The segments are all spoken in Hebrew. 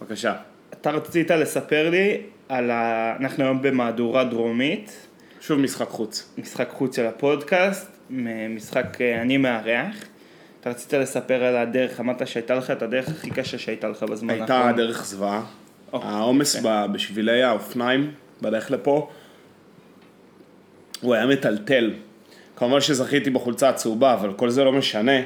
בבקשה. אתה רצית לספר לי על ה... אנחנו היום במהדורה דרומית, שוב משחק חוץ. משחק חוץ של הפודקאסט, מ- משחק אה, אני מארח. אתה רצית לספר על הדרך, אמרת שהייתה לך את הדרך הכי קשה שהייתה לך בזמן הייתה אה, דרך זוועה. אוקיי. העומס ב- בשבילי האופניים, בדרך לפה, הוא היה מטלטל. כמובן שזכיתי בחולצה הצהובה, אבל כל זה לא משנה,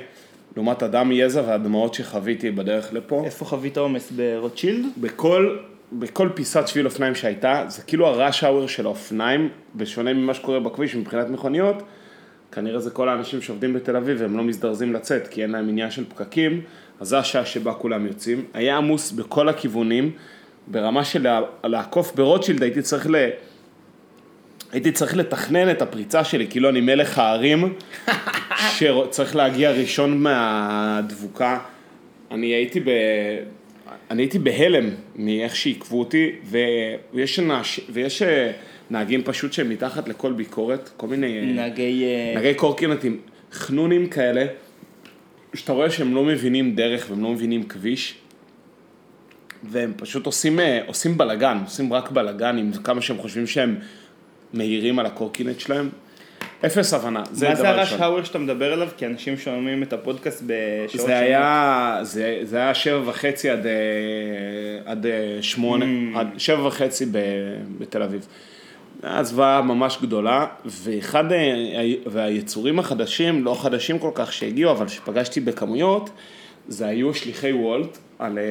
לעומת הדם, יזע והדמעות שחוויתי בדרך לפה. איפה חווית עומס ברוטשילד? בכל, בכל פיסת שביל אופניים שהייתה, זה כאילו הראש האוור של האופניים, בשונה ממה שקורה בכביש מבחינת מכוניות, כנראה זה כל האנשים שעובדים בתל אביב והם לא מזדרזים לצאת, כי אין להם עניין של פקקים, אז זו השעה שבה כולם יוצאים. היה עמוס בכל הכיוונים, ברמה של לה- לעקוף ברוטשילד הייתי צריך ל... הייתי צריך לתכנן את הפריצה שלי, כאילו אני מלך ההרים, שצריך להגיע ראשון מהדבוקה. אני הייתי ב... אני הייתי בהלם מאיך שעיכבו אותי, ויש, נש... ויש אה, נהגים פשוט שהם מתחת לכל ביקורת, כל מיני... אה, נהגי... אה, נהגי קורקינטים, חנונים כאלה, שאתה רואה שהם לא מבינים דרך והם לא מבינים כביש, והם פשוט עושים, אה, עושים בלאגן, עושים רק בלאגן עם כמה שהם חושבים שהם מהירים על הקורקינט שלהם. אפס הבנה, זה מה זה דבר הרש ראשון. האוור שאתה מדבר עליו? כי אנשים שומעים את הפודקאסט בשעות זה היה, זה, זה היה שבע וחצי עד, אה, עד אה, שמונה, mm. עד שבע וחצי ב, בתל אביב. היה זוועה ממש גדולה, ואחד אה, ה- והיצורים החדשים, לא חדשים כל כך שהגיעו, אבל שפגשתי בכמויות, זה היו שליחי וולט על אה,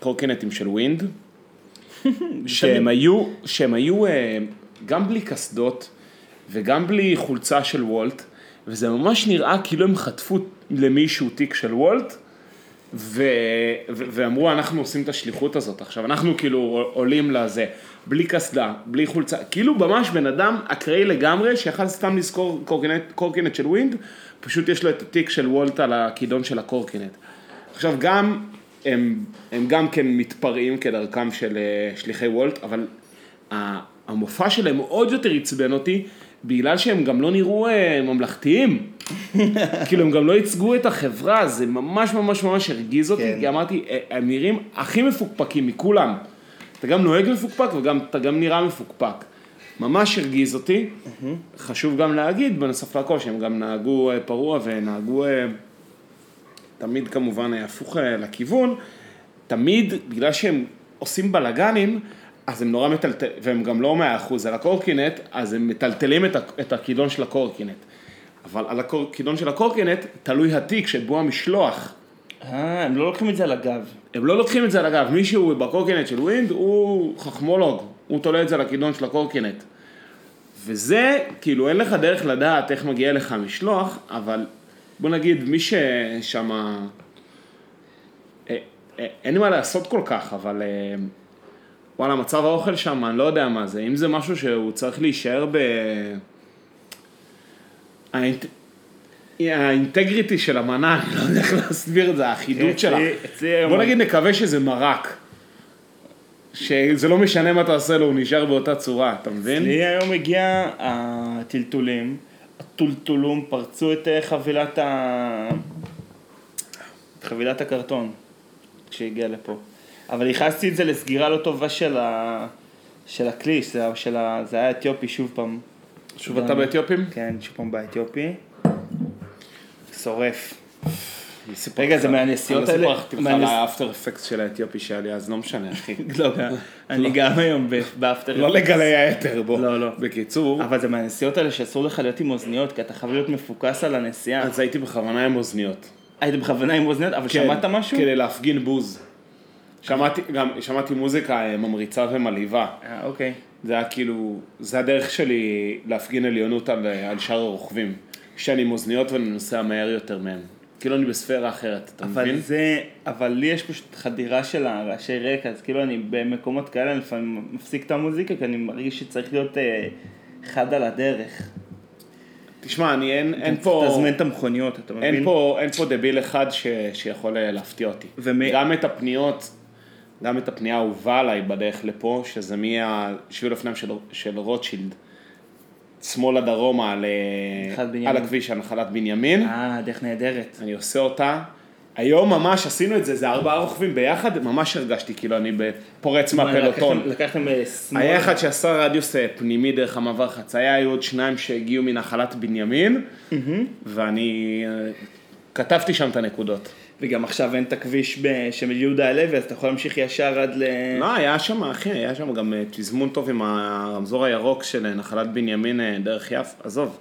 קורקינטים של ווינד, שהם היו, שהם היו אה, גם בלי קסדות וגם בלי חולצה של וולט, וזה ממש נראה כאילו הם חטפו למישהו תיק של וולט, ו, ו, ואמרו אנחנו עושים את השליחות הזאת עכשיו, אנחנו כאילו עולים לזה, בלי קסדה, בלי חולצה, כאילו ממש בן אדם אקראי לגמרי, שיכל סתם לזכור קורקינט, קורקינט של ווינד, פשוט יש לו את התיק של וולט על הכידון של הקורקינט. עכשיו גם, הם, הם גם כן מתפרעים כדרכם של אה, שליחי וולט, אבל ה- המופע שלהם עוד יותר עצבן אותי, בגלל שהם גם לא נראו אה, ממלכתיים. כאילו, הם גם לא ייצגו את החברה, זה ממש ממש ממש הרגיז אותי, כן. כי אמרתי, "אה, הם נראים הכי מפוקפקים מכולם. אתה גם נוהג מפוקפק וגם אתה גם נראה מפוקפק. ממש הרגיז אותי. חשוב גם להגיד, בנוסף לכל, שהם גם נהגו אה, פרוע ונהגו... אה, תמיד כמובן אה, הפוך אה, לכיוון, תמיד בגלל שהם עושים בלאגנים, אז הם נורא מטלטלים, והם גם לא מאה אחוז על הקורקינט, אז הם מטלטלים את, ה- את הכידון של הקורקינט. אבל על הכידון של הקורקינט תלוי התיק שבו המשלוח. אה, הם לא לוקחים את זה על הגב. הם לא לוקחים את זה על הגב, מישהו בקורקינט של ווינד הוא חכמולוג, הוא תולה את זה על הכידון של הקורקינט. וזה, כאילו אין לך דרך לדעת איך מגיע לך המשלוח, אבל בוא נגיד מי ששמה... אה, אה, אין לי מה לעשות כל כך, אבל אה, וואלה, מצב האוכל שם, אני לא יודע מה זה. אם זה משהו שהוא צריך להישאר ב... האינט- האינטגריטי של המנה, אני לא יודע איך להסביר את זה, האחידות שלה. אצלי- אצלי היום... בוא נגיד נקווה שזה מרק. שזה לא משנה מה אתה עושה לו, הוא נשאר באותה צורה, אתה מבין? לי היום הגיע הטלטולים, הטולטולום, פרצו את אה, חבילת ה... את חבילת הקרטון כשהגיע לפה. אבל ייחסתי את זה לסגירה לא טובה של, ה... של הכליש, זה, של ה... זה היה אתיופי שוב פעם. שוב אתה באתיופים? כן, שוב פעם באתיופי. שורף. רגע, זה מהנסיעות האלה? אני לא סיפרתי לך על מהנס- האפטר אפקט של האתיופי שהיה לי, אז לא משנה, אחי. לא, אני גם היום ב- באפטר. לא לגלי היתר, בוא. לא, לא. בקיצור, אבל זה מהנסיעות האלה שאסור לך להיות עם אוזניות, כי אתה חייב להיות מפוקס על הנסיעה. אז כן, הייתי בכוונה עם אוזניות. היית בכוונה עם אוזניות, אבל שמעת משהו? כדי להפגין בוז. שמעתי, גם שמעתי מוזיקה אה, ממריצה ומלהיבה. אה, אוקיי. זה היה כאילו, זה הדרך שלי להפגין עליונות על, על שאר הרוכבים. שאני עם אוזניות ואני נוסע מהר יותר מהם. כאילו אני בספירה אחרת, אתה אבל מבין? זה, אבל לי יש פשוט חדירה של הרעשי רקע, אז כאילו אני במקומות כאלה, אני לפעמים מפסיק את המוזיקה, כי אני מרגיש שצריך להיות אה, חד על הדרך. תשמע, אני אין, אין פה... תזמן את המכוניות, אתה מבין? אין פה, אין פה דביל אחד ש, שיכול אה, להפתיע אותי. ומי- גם את הפניות, גם את הפנייה האהובה עליי בדרך לפה, שזה מהשביל אופניים של, של רוטשילד, שמאלה דרומה על, אה, נחלת בנימין. על הכביש, הנחלת בנימין. אה, דרך נהדרת. אני עושה אותה, היום ממש עשינו את זה, זה ארבעה רוכבים ביחד, ממש הרגשתי כאילו אני פורץ מה, מהפלוטון. לקחתם- לקחתם אה, שמאל. היה אחד שעשה רדיוס אה, פנימי דרך המעבר חצייה, היו עוד שניים שהגיעו מנחלת בנימין, ואני אה, כתבתי שם את הנקודות. וגם עכשיו אין את הכביש ב- של יהודה הלוי, אז אתה יכול להמשיך ישר עד ל... לא, היה שם, אחי, היה שם גם אה, תזמון טוב עם הרמזור הירוק של אה, נחלת בנימין אה, דרך יפ, עזוב.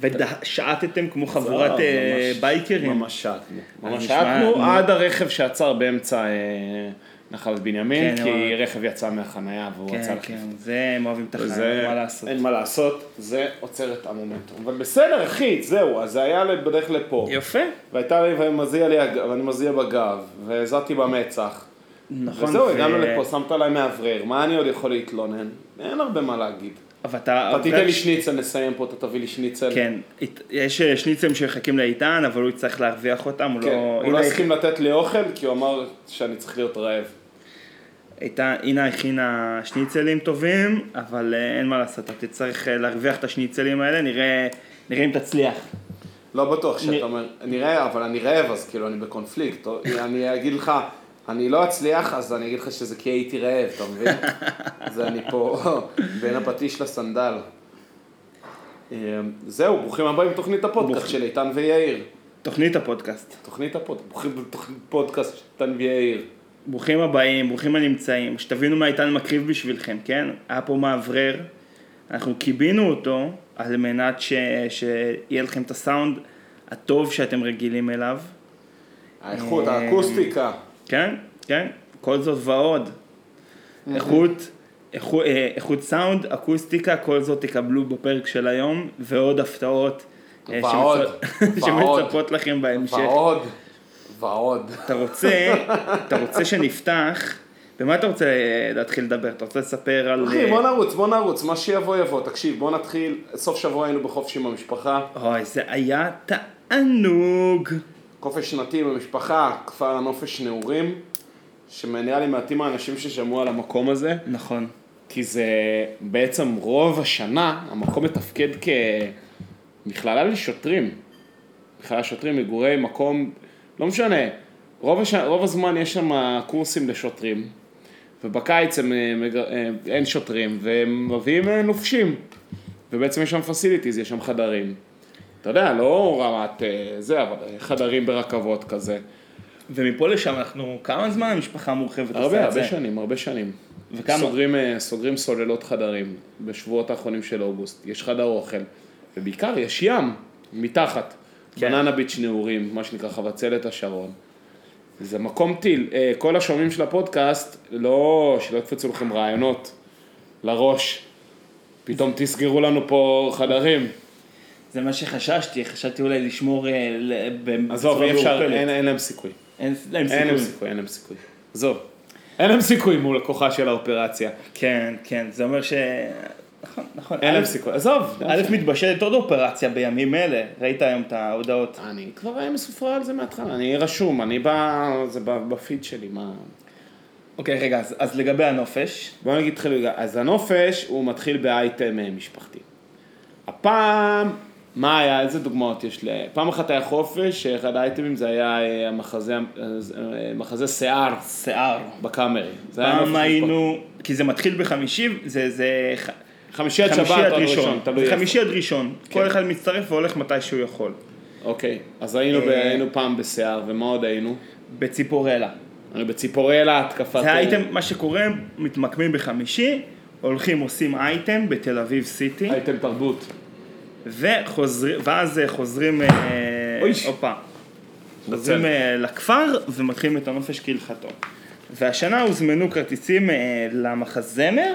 ושעטתם כמו חבורת עזוב, אה, ממש- בייקרים. ממש שעטנו. ממש נשמע- שעטנו נשמע- עד הרכב שעצר באמצע אה, נחלת בנימין, כן, כי אבל- רכב יצא מהחנייה והוא רצה כן, לחלק. כן, זה הם אוהבים את החיים, זה, מה לעשות. אין מה לעשות, זה עוצר את המומנטום. אבל בסדר, אחי, זהו, אז זה היה בדרך לפה. יפה. והייתה לי, ואני מזיע לי, הג- ואני מזיע בגב, והזעתי במצח. נכון. וזהו, ו- הגענו לפה, שמת עליי מאוורר, מה אני עוד יכול להתלונן? אין הרבה מה להגיד. אבל אתה... אתה תיתן לי ש- שניצל, נסיים פה, אתה תביא לי שניצל. כן, אית- יש אה, שניצלים שמחכים לאיתן, אבל הוא יצטרך להרוויח אותם, הוא כן. לא... הוא לא הנה, הסכים לתת לי אוכל, כי הוא אמר שאני צריך להיות רעב. איתן, אינה הכינה שניצלים טובים, אבל אה, אין מה לעשות, אתה תצטרך אה, להרוויח את השניצלים האלה, נראה נראה אם תצליח. לא בטוח נ- שאתה אומר, אני רעב, אבל אני רעב, אז כאילו אני בקונפליקט. או- אני אגיד לך, אני לא אצליח, אז אני אגיד לך שזה כי הייתי רעב, אתה מבין? זה אני פה בין הפטיש לסנדל. אמ, זהו, ברוכים הבאים לתוכנית הפודקאסט של איתן ויאיר. תוכנית הפודקאסט. תוכנית הפודקאסט, ברוכים לתוכנית פודקאסט של איתן ויאיר. ברוכים הבאים, ברוכים הנמצאים, שתבינו מה איתן מקריב בשבילכם, כן? היה פה מאוורר, אנחנו קיבינו אותו על מנת ש... שיהיה לכם את הסאונד הטוב שאתם רגילים אליו, האיכות, אמ, האקוסטיקה. כן? כן? כל זאת ועוד. איכות, איכות, איכות סאונד, אקוסטיקה, כל זאת תקבלו בפרק של היום, ועוד הפתעות. אה, ועוד, שמצפ- ועוד. שמצפות לכם בהמשך. ועוד, ועוד. אתה רוצה, אתה רוצה שנפתח, במה אתה רוצה אה, להתחיל לדבר? אתה רוצה לספר על... אחי, אה, בוא נרוץ, בוא נרוץ, מה שיבוא יבוא. תקשיב, בוא נתחיל, סוף שבוע היינו בחופש עם המשפחה. אוי, זה היה תענוג. חופש שנתי במשפחה, כפר הנופש נעורים, שנראה לי מעטים האנשים ששמעו על המקום הזה, נכון. כי זה בעצם רוב השנה, המקום מתפקד כמכללה לשוטרים. מכללה לשוטרים, מגורי מקום, לא משנה. רוב, הש... רוב הזמן יש שם קורסים לשוטרים, ובקיץ הם, אה, מג... אה, אין שוטרים, והם מביאים אה, נופשים. ובעצם יש שם פסיליטיז, יש שם חדרים. אתה יודע, לא רמת אה, זה, אבל אה, חדרים ברכבות כזה. ומפה לשם אנחנו, כמה זמן המשפחה המורחבת הרבה, עושה את הרבה זה? שנים, הרבה שנים. וכמה? סוגרים, אה, סוגרים סוללות חדרים בשבועות האחרונים של אוגוסט. יש חדר אוכל, ובעיקר יש ים, מתחת. כן. בננה ביץ' נעורים, מה שנקרא חבצלת השרון. זה מקום טיל. אה, כל השומעים של הפודקאסט, לא, שלא יקפצו לכם רעיונות לראש. פתאום תסגרו לנו פה חדרים. זה מה שחששתי, חשבתי אולי לשמור אה, ל- ב- עזוב, בצורה אי אפשר, מעורפלת. אין, אין להם סיכוי. אין להם אין להם סיכוי. סיכוי, אין להם סיכוי. עזוב. אה, אין להם סיכוי מול כוחה של האופרציה. כן, כן, זה אומר ש... נכון, נכון. אין להם א', סיכוי. עזוב. א', מתבשלת עוד אופרציה בימים אלה, ראית היום את ההודעות. אני כבר מסופרה על זה מההתחלה, אני רשום, אני ב... זה ב- בפיד שלי, מה... אוקיי, רגע, אז- אז לגבי הנופש, בוא נגיד תחילו, אז הנופש הוא מתחיל באייטם אה, משפחתי. הפעם, מה היה, איזה דוגמאות יש ל... פעם אחת היה חופש, אחד האייטמים זה היה אה, המחזה, אה, מחזה שיער שיער. בקאמרי. זה היה פעם נופש משפחתי. היינו, כי זה מתחיל בחמישי, זה- זה ח- חמישי עד שבת, חמישי עד עד ראשון, כן. ראשון, זה תלוי איפה. חמישי עד ראשון, כל אחד מצטרף והולך מתי שהוא יכול. אוקיי, אז היינו ב- אה, היינו פעם בשיער, ומה עוד היינו? בציפורלה. היינו בציפורלה, התקפת... זה אה, האייטם, מה שקורה, מתמקמים בחמישי, הולכים עושים אייטם בתל אביב סיטי, אה, אייטם תרבות. וחוזרים, ואז אה, חוזרים, אה, אויש. הופה, חוזרים אה, לכפר ומתחילים את הנופש כהלכתו. והשנה הוזמנו כרטיסים אה, למחזמר,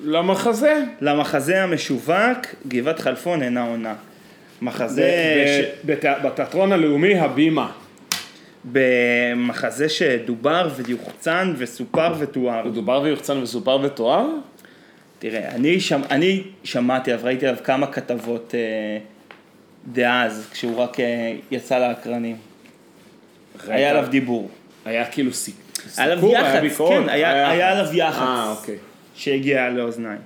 למחזה. למחזה המשווק, גבעת חלפון אינה עונה. מחזה, ש- ב- בת- בתיאטרון הלאומי הבימה. במחזה שדובר ויוחצן וסופר ותואר. הוא דובר ויוחצן וסופר ותואר? תראה, אני, שמ, אני שמעתי, אבל ראיתי עליו כמה כתבות אה, דאז, כשהוא רק אה, יצא לאקרנים. היה עליו דיבור. היה כאילו סיפור, היה עליו יח"צ, כן, היה, היה עליו יח"צ. אה, אוקיי. שהגיע לאוזניי.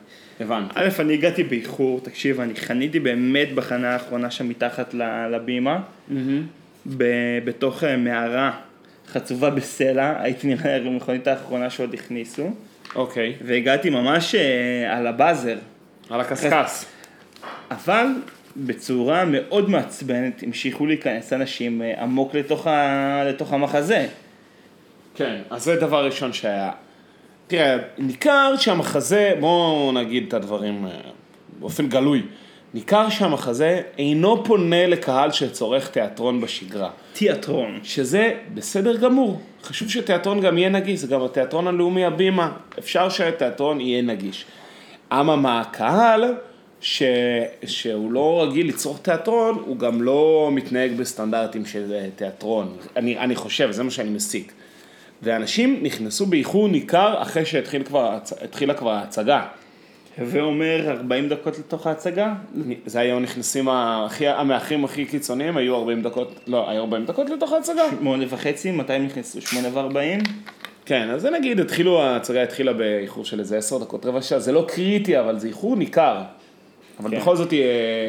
הבנתי. א', אני הגעתי באיחור, תקשיב, אני חניתי באמת בחנה האחרונה שם מתחת ל- לבימה, ב- בתוך אה, מערה חצובה בסלע, הייתי נראה לי המכונית האחרונה שעוד הכניסו, אוקיי. והגעתי ממש אה, על הבאזר, על הקשקש. אבל בצורה מאוד מעצבנת המשיכו להיכנס אנשים אה, עמוק לתוך, ה... לתוך המחזה. כן, אז זה דבר ראשון שהיה. תראה, ניכר שהמחזה, בואו נגיד את הדברים אה, באופן גלוי, ניכר שהמחזה אינו פונה לקהל שצורך תיאטרון בשגרה, תיאטרון. שזה בסדר גמור. חשוב שתיאטרון גם יהיה נגיש, זה גם התיאטרון הלאומי הבימה, אפשר שהתיאטרון יהיה נגיש. אממה, הקהל, ש... שהוא לא רגיל לצרוך תיאטרון, הוא גם לא מתנהג בסטנדרטים של אה, תיאטרון. אני, אני חושב, זה מה שאני מסיק. ואנשים נכנסו באיחור ניכר אחרי שהתחילה כבר, ההצ- התחילה כבר ההצגה. הווה אומר 40 דקות לתוך ההצגה? זה היו נכנסים, הכי, המאחרים הכי קיצוניים היו 40 דקות, לא, היו 40 דקות לתוך ההצגה. שמונה וחצי, מתי הם נכנסו? שמונה וארבעים? כן, אז זה נגיד, התחילו, ההצגה התחילה באיחור של איזה עשר דקות, רבע שעה, זה לא קריטי, אבל זה איחור ניכר. אבל כן. בכל זאת אה,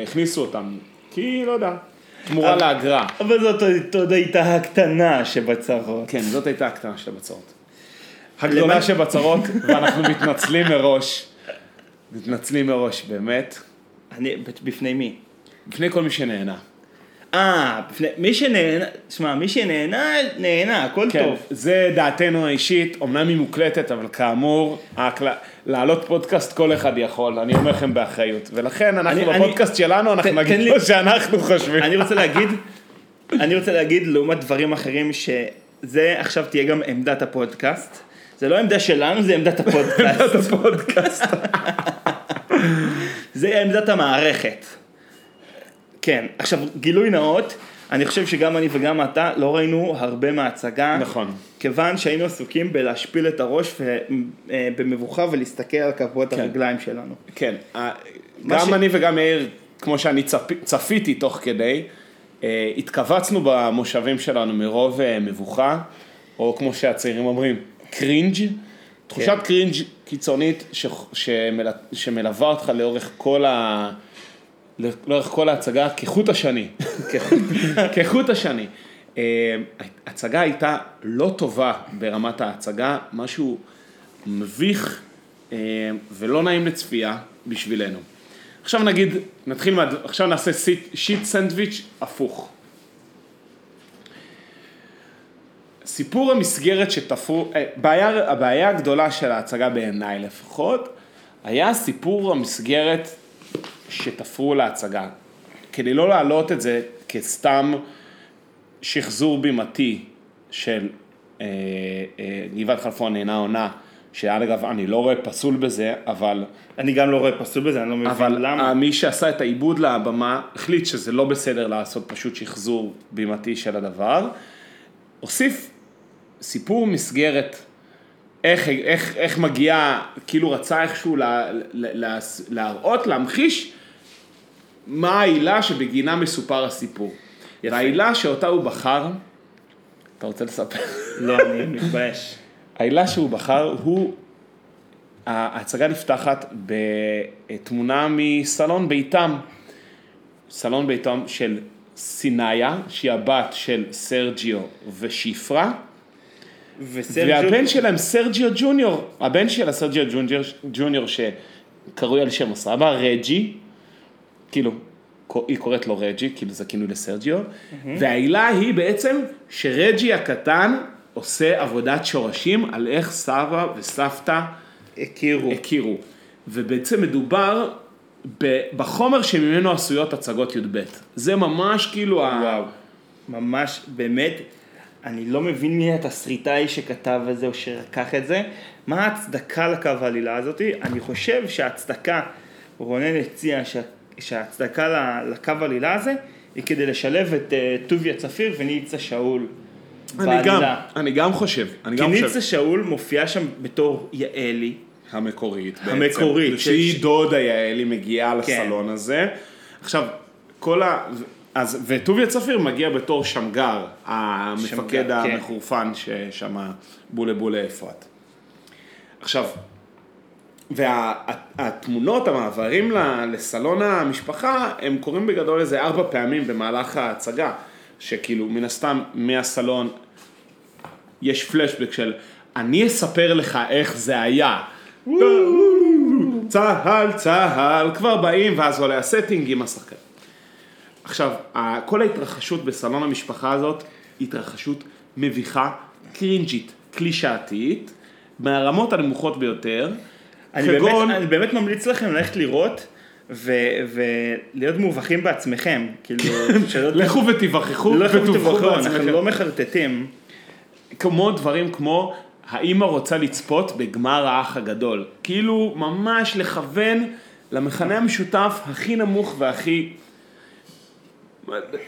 הכניסו אותם, כי לא יודע, תמורה אבל- לאגרה. אבל זאת עוד הייתה הקטנה שבצרות. כן, זאת הייתה הקטנה של הבצורת. למען- הגדולה שבצרות, ואנחנו מתנצלים מראש. מתנצלים מראש, באמת. אני, בפני מי? בפני כל מי שנהנה. אה, בפני, מי שנהנה, שמע, מי שנהנה, נהנה, הכל כן, טוב. זה דעתנו האישית, אמנם היא מוקלטת, אבל כאמור, ההקל... להעלות פודקאסט כל אחד יכול, אני אומר לכם באחריות. ולכן אנחנו אני- בפודקאסט שלנו, אנחנו תן- נגיד תן לי- מה שאנחנו חושבים. אני רוצה להגיד, אני רוצה להגיד לעומת דברים אחרים, שזה עכשיו תהיה גם עמדת הפודקאסט. זה לא עמדה שלנו, זה עמדת הפודקאסט. את הפודקאסט. זה עמדת המערכת. כן, עכשיו גילוי נאות, אני חושב שגם אני וגם אתה לא ראינו הרבה מההצגה. נכון. כיוון שהיינו עסוקים בלהשפיל את הראש ו- אה, במבוכה ולהסתכל על כפות כן. הרגליים שלנו. כן, ה- מה ש- גם אני וגם יאיר, כמו שאני צפ- צפיתי תוך כדי, אה, התכווצנו במושבים שלנו מרוב אה, מבוכה, או כמו שהצעירים אומרים, קרינג', כן. תחושת קרינג' קיצונית ש- שמל- שמלווה אותך לאורך כל ה... לאורך כל ההצגה כחוט השני. כחוט השני. אה, ההצגה הייתה לא טובה ברמת ההצגה, משהו מביך אה, ולא נעים לצפייה בשבילנו. עכשיו נגיד, נתחיל, מה, עכשיו נעשה סיט- שיט סנדוויץ' הפוך. סיפור המסגרת שתפרו, אה, בעיה, הבעיה הגדולה של ההצגה בעיניי לפחות, היה סיפור המסגרת שתפרו להצגה. כדי לא להעלות את זה כסתם שחזור בימתי של אה, אה, גבעת חלפון אינה עונה, שעד אגב אני לא רואה פסול בזה, אבל, אני גם לא רואה פסול בזה, אני לא מבין אבל אה, למה. מי שעשה את העיבוד לבמה החליט שזה לא בסדר לעשות פשוט שחזור בימתי של הדבר. הוסיף סיפור מסגרת, איך, איך, איך מגיע, כאילו רצה איכשהו לה, לה, לה, להראות, להמחיש מה העילה שבגינה מסופר הסיפור. והעילה שאותה הוא בחר, אתה רוצה לספר? לא, אני מתבייש. העילה שהוא בחר הוא, ההצגה נפתחת בתמונה מסלון ביתם, סלון ביתם של סיניה, שהיא הבת של סרג'יו ושיפרה, וסרג'ו, והבן שלהם סרג'יו ג'וניור, הבן שלה סרג'יו ג'וניור, ג'וניור שקרוי על שם הסבא, רג'י, כאילו, היא קוראת לו רג'י, כאילו זה כינוי לסרג'יו, והעילה היא בעצם שרג'י הקטן עושה עבודת שורשים על איך סבא וסבתא הכירו. הכירו. ובעצם מדובר ב- בחומר שממנו עשויות הצגות י"ב. זה ממש כאילו ה... וואו. ממש, באמת, אני לא מבין מי התסריטאי שכתב את זה או שלקח את זה. מה ההצדקה לקו העלילה הזאת? אני חושב שההצדקה, רונן הציע שה- שההצדקה ל- לקו העלילה הזה, היא כדי לשלב את אה, טוביה צפיר וניצה שאול. אני גם, אני גם חושב, אני כי גם חושב. ניצה שאול מופיעה שם בתור יעלי. המקורית בעצם. המקורית, ש- שהיא דודה יעלי מגיעה כן. לסלון הזה. עכשיו, כל ה... אז, וטוביה צפיר מגיע בתור שמגר, המפקד שמגר, כן. המחורפן ששם בולה בולה אפרת. עכשיו, והתמונות, המעברים ל- לסלון המשפחה, הם קורים בגדול איזה ארבע פעמים במהלך ההצגה. שכאילו מן הסתם מהסלון יש פלשבק של אני אספר לך איך זה היה. צהל, צהל, כבר באים, ואז עולה הסטינג עם השחקן. עכשיו, ה- כל ההתרחשות בסלון המשפחה הזאת, היא התרחשות מביכה, קרינג'ית, קלישאתית, מהרמות הנמוכות ביותר, אני באמת, אני באמת ממליץ לכם ללכת לראות ו- ולהיות מובכים בעצמכם. כאילו, כן. שלא לכו ותיווכחו, לא לכם ותובכו תבחרו, אנחנו בעצמכם. לא מחרטטים. כמו דברים כמו, האימא רוצה לצפות בגמר האח הגדול. כאילו, ממש לכוון למכנה המשותף הכי נמוך והכי...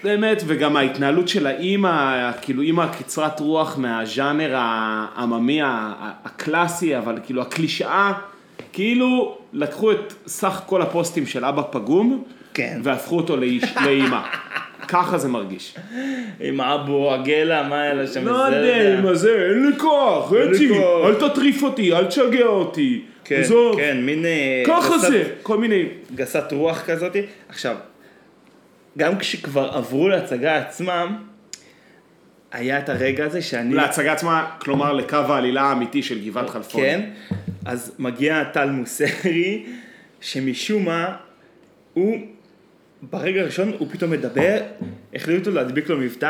באמת, וגם ההתנהלות של האימא, כאילו אימא קצרת רוח מהז'אנר העממי ה- ה- הקלאסי, אבל כאילו הקלישאה, כאילו לקחו את סך כל הפוסטים של אבא פגום, כן. והפכו אותו לאיש, לאימא. ככה זה מרגיש. עם אבו עגלה, מה היה לה שם? לא זה- יודע, מה זה, אין לי כוח, רצי, כוח. אל תטריף אותי, אל תשגע אותי. כן, עזוב, כן, מין... אה, ככה גסת- זה, כל מיני. גסת רוח כזאת. עכשיו, גם כשכבר עברו להצגה עצמם, היה את הרגע הזה שאני... להצגה נכון. עצמה, כלומר לקו העלילה האמיתי של גבעת חלפון. כן, אז מגיע טל מוסרי, שמשום מה, הוא, ברגע הראשון הוא פתאום מדבר, החליטו להדביק לו מבטא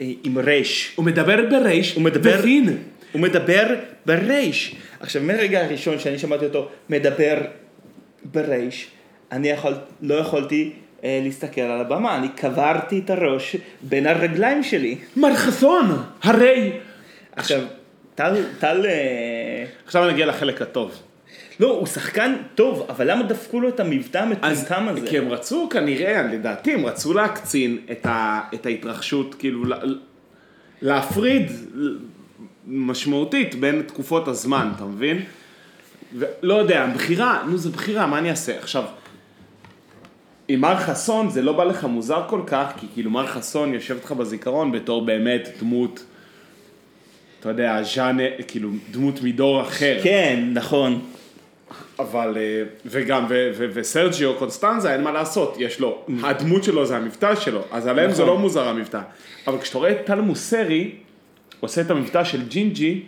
אה, עם רייש. הוא מדבר ברייש, הוא מדבר- ברין. הוא מדבר ברייש. עכשיו, מהרגע הראשון שאני שמעתי אותו מדבר ברייש, אני יכול, לא יכולתי אה, להסתכל על הבמה, אני קברתי את הראש בין הרגליים שלי. מר חסון, הרי. עכשיו, טל, טל... אה, עכשיו נגיע לחלק הטוב. לא, הוא שחקן טוב, אבל למה דפקו לו את המבטא המטומטם הזה? כי הם רצו כנראה, לדעתי, הם רצו להקצין את, ה, את ההתרחשות, כאילו לה, להפריד משמעותית בין תקופות הזמן, אתה מבין? ולא יודע, בחירה, נו זו בחירה, מה אני אעשה? עכשיו, עם מר חסון זה לא בא לך מוזר כל כך, כי כאילו מר חסון יושב לך בזיכרון בתור באמת דמות, אתה יודע, ז'אנר, כאילו דמות מדור אחר. כן, נכון. אבל, אה, וגם, ו- ו- וסרג'יו קונסטנזה, אין מה לעשות, יש לו, הדמות שלו זה המבטא שלו, אז עליהם זה נכון. לא מוזר המבטא. אבל כשאתה רואה את טל מוסרי, עושה את המבטא של ג'ינג'י,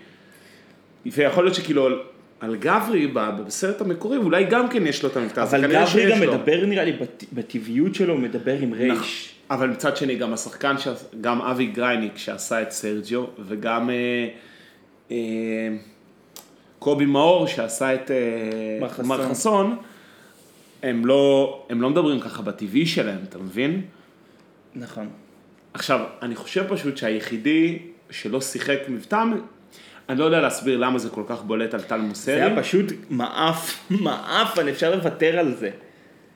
ויכול להיות שכאילו על, על גברי ב- בסרט המקורי, אולי גם כן יש לו את המבטא, הזה, אבל כנראה גברי שיש גם לו. מדבר, נראה לי, בת- בטבעיות שלו, הוא מדבר עם רייש. אבל מצד שני, גם השחקן, שעש- גם אבי גרייניק שעשה את סרג'יו, וגם אה, אה, קובי מאור שעשה את מר אה, חסון. מר חסון, הם לא, הם לא מדברים ככה בטבעי שלהם, אתה מבין? נכון. עכשיו, אני חושב פשוט שהיחידי שלא שיחק מבטא, אני לא יודע להסביר למה זה כל כך בולט על טל מוסרי. זה היה פשוט מעף, מעף, אבל אפשר לוותר על זה.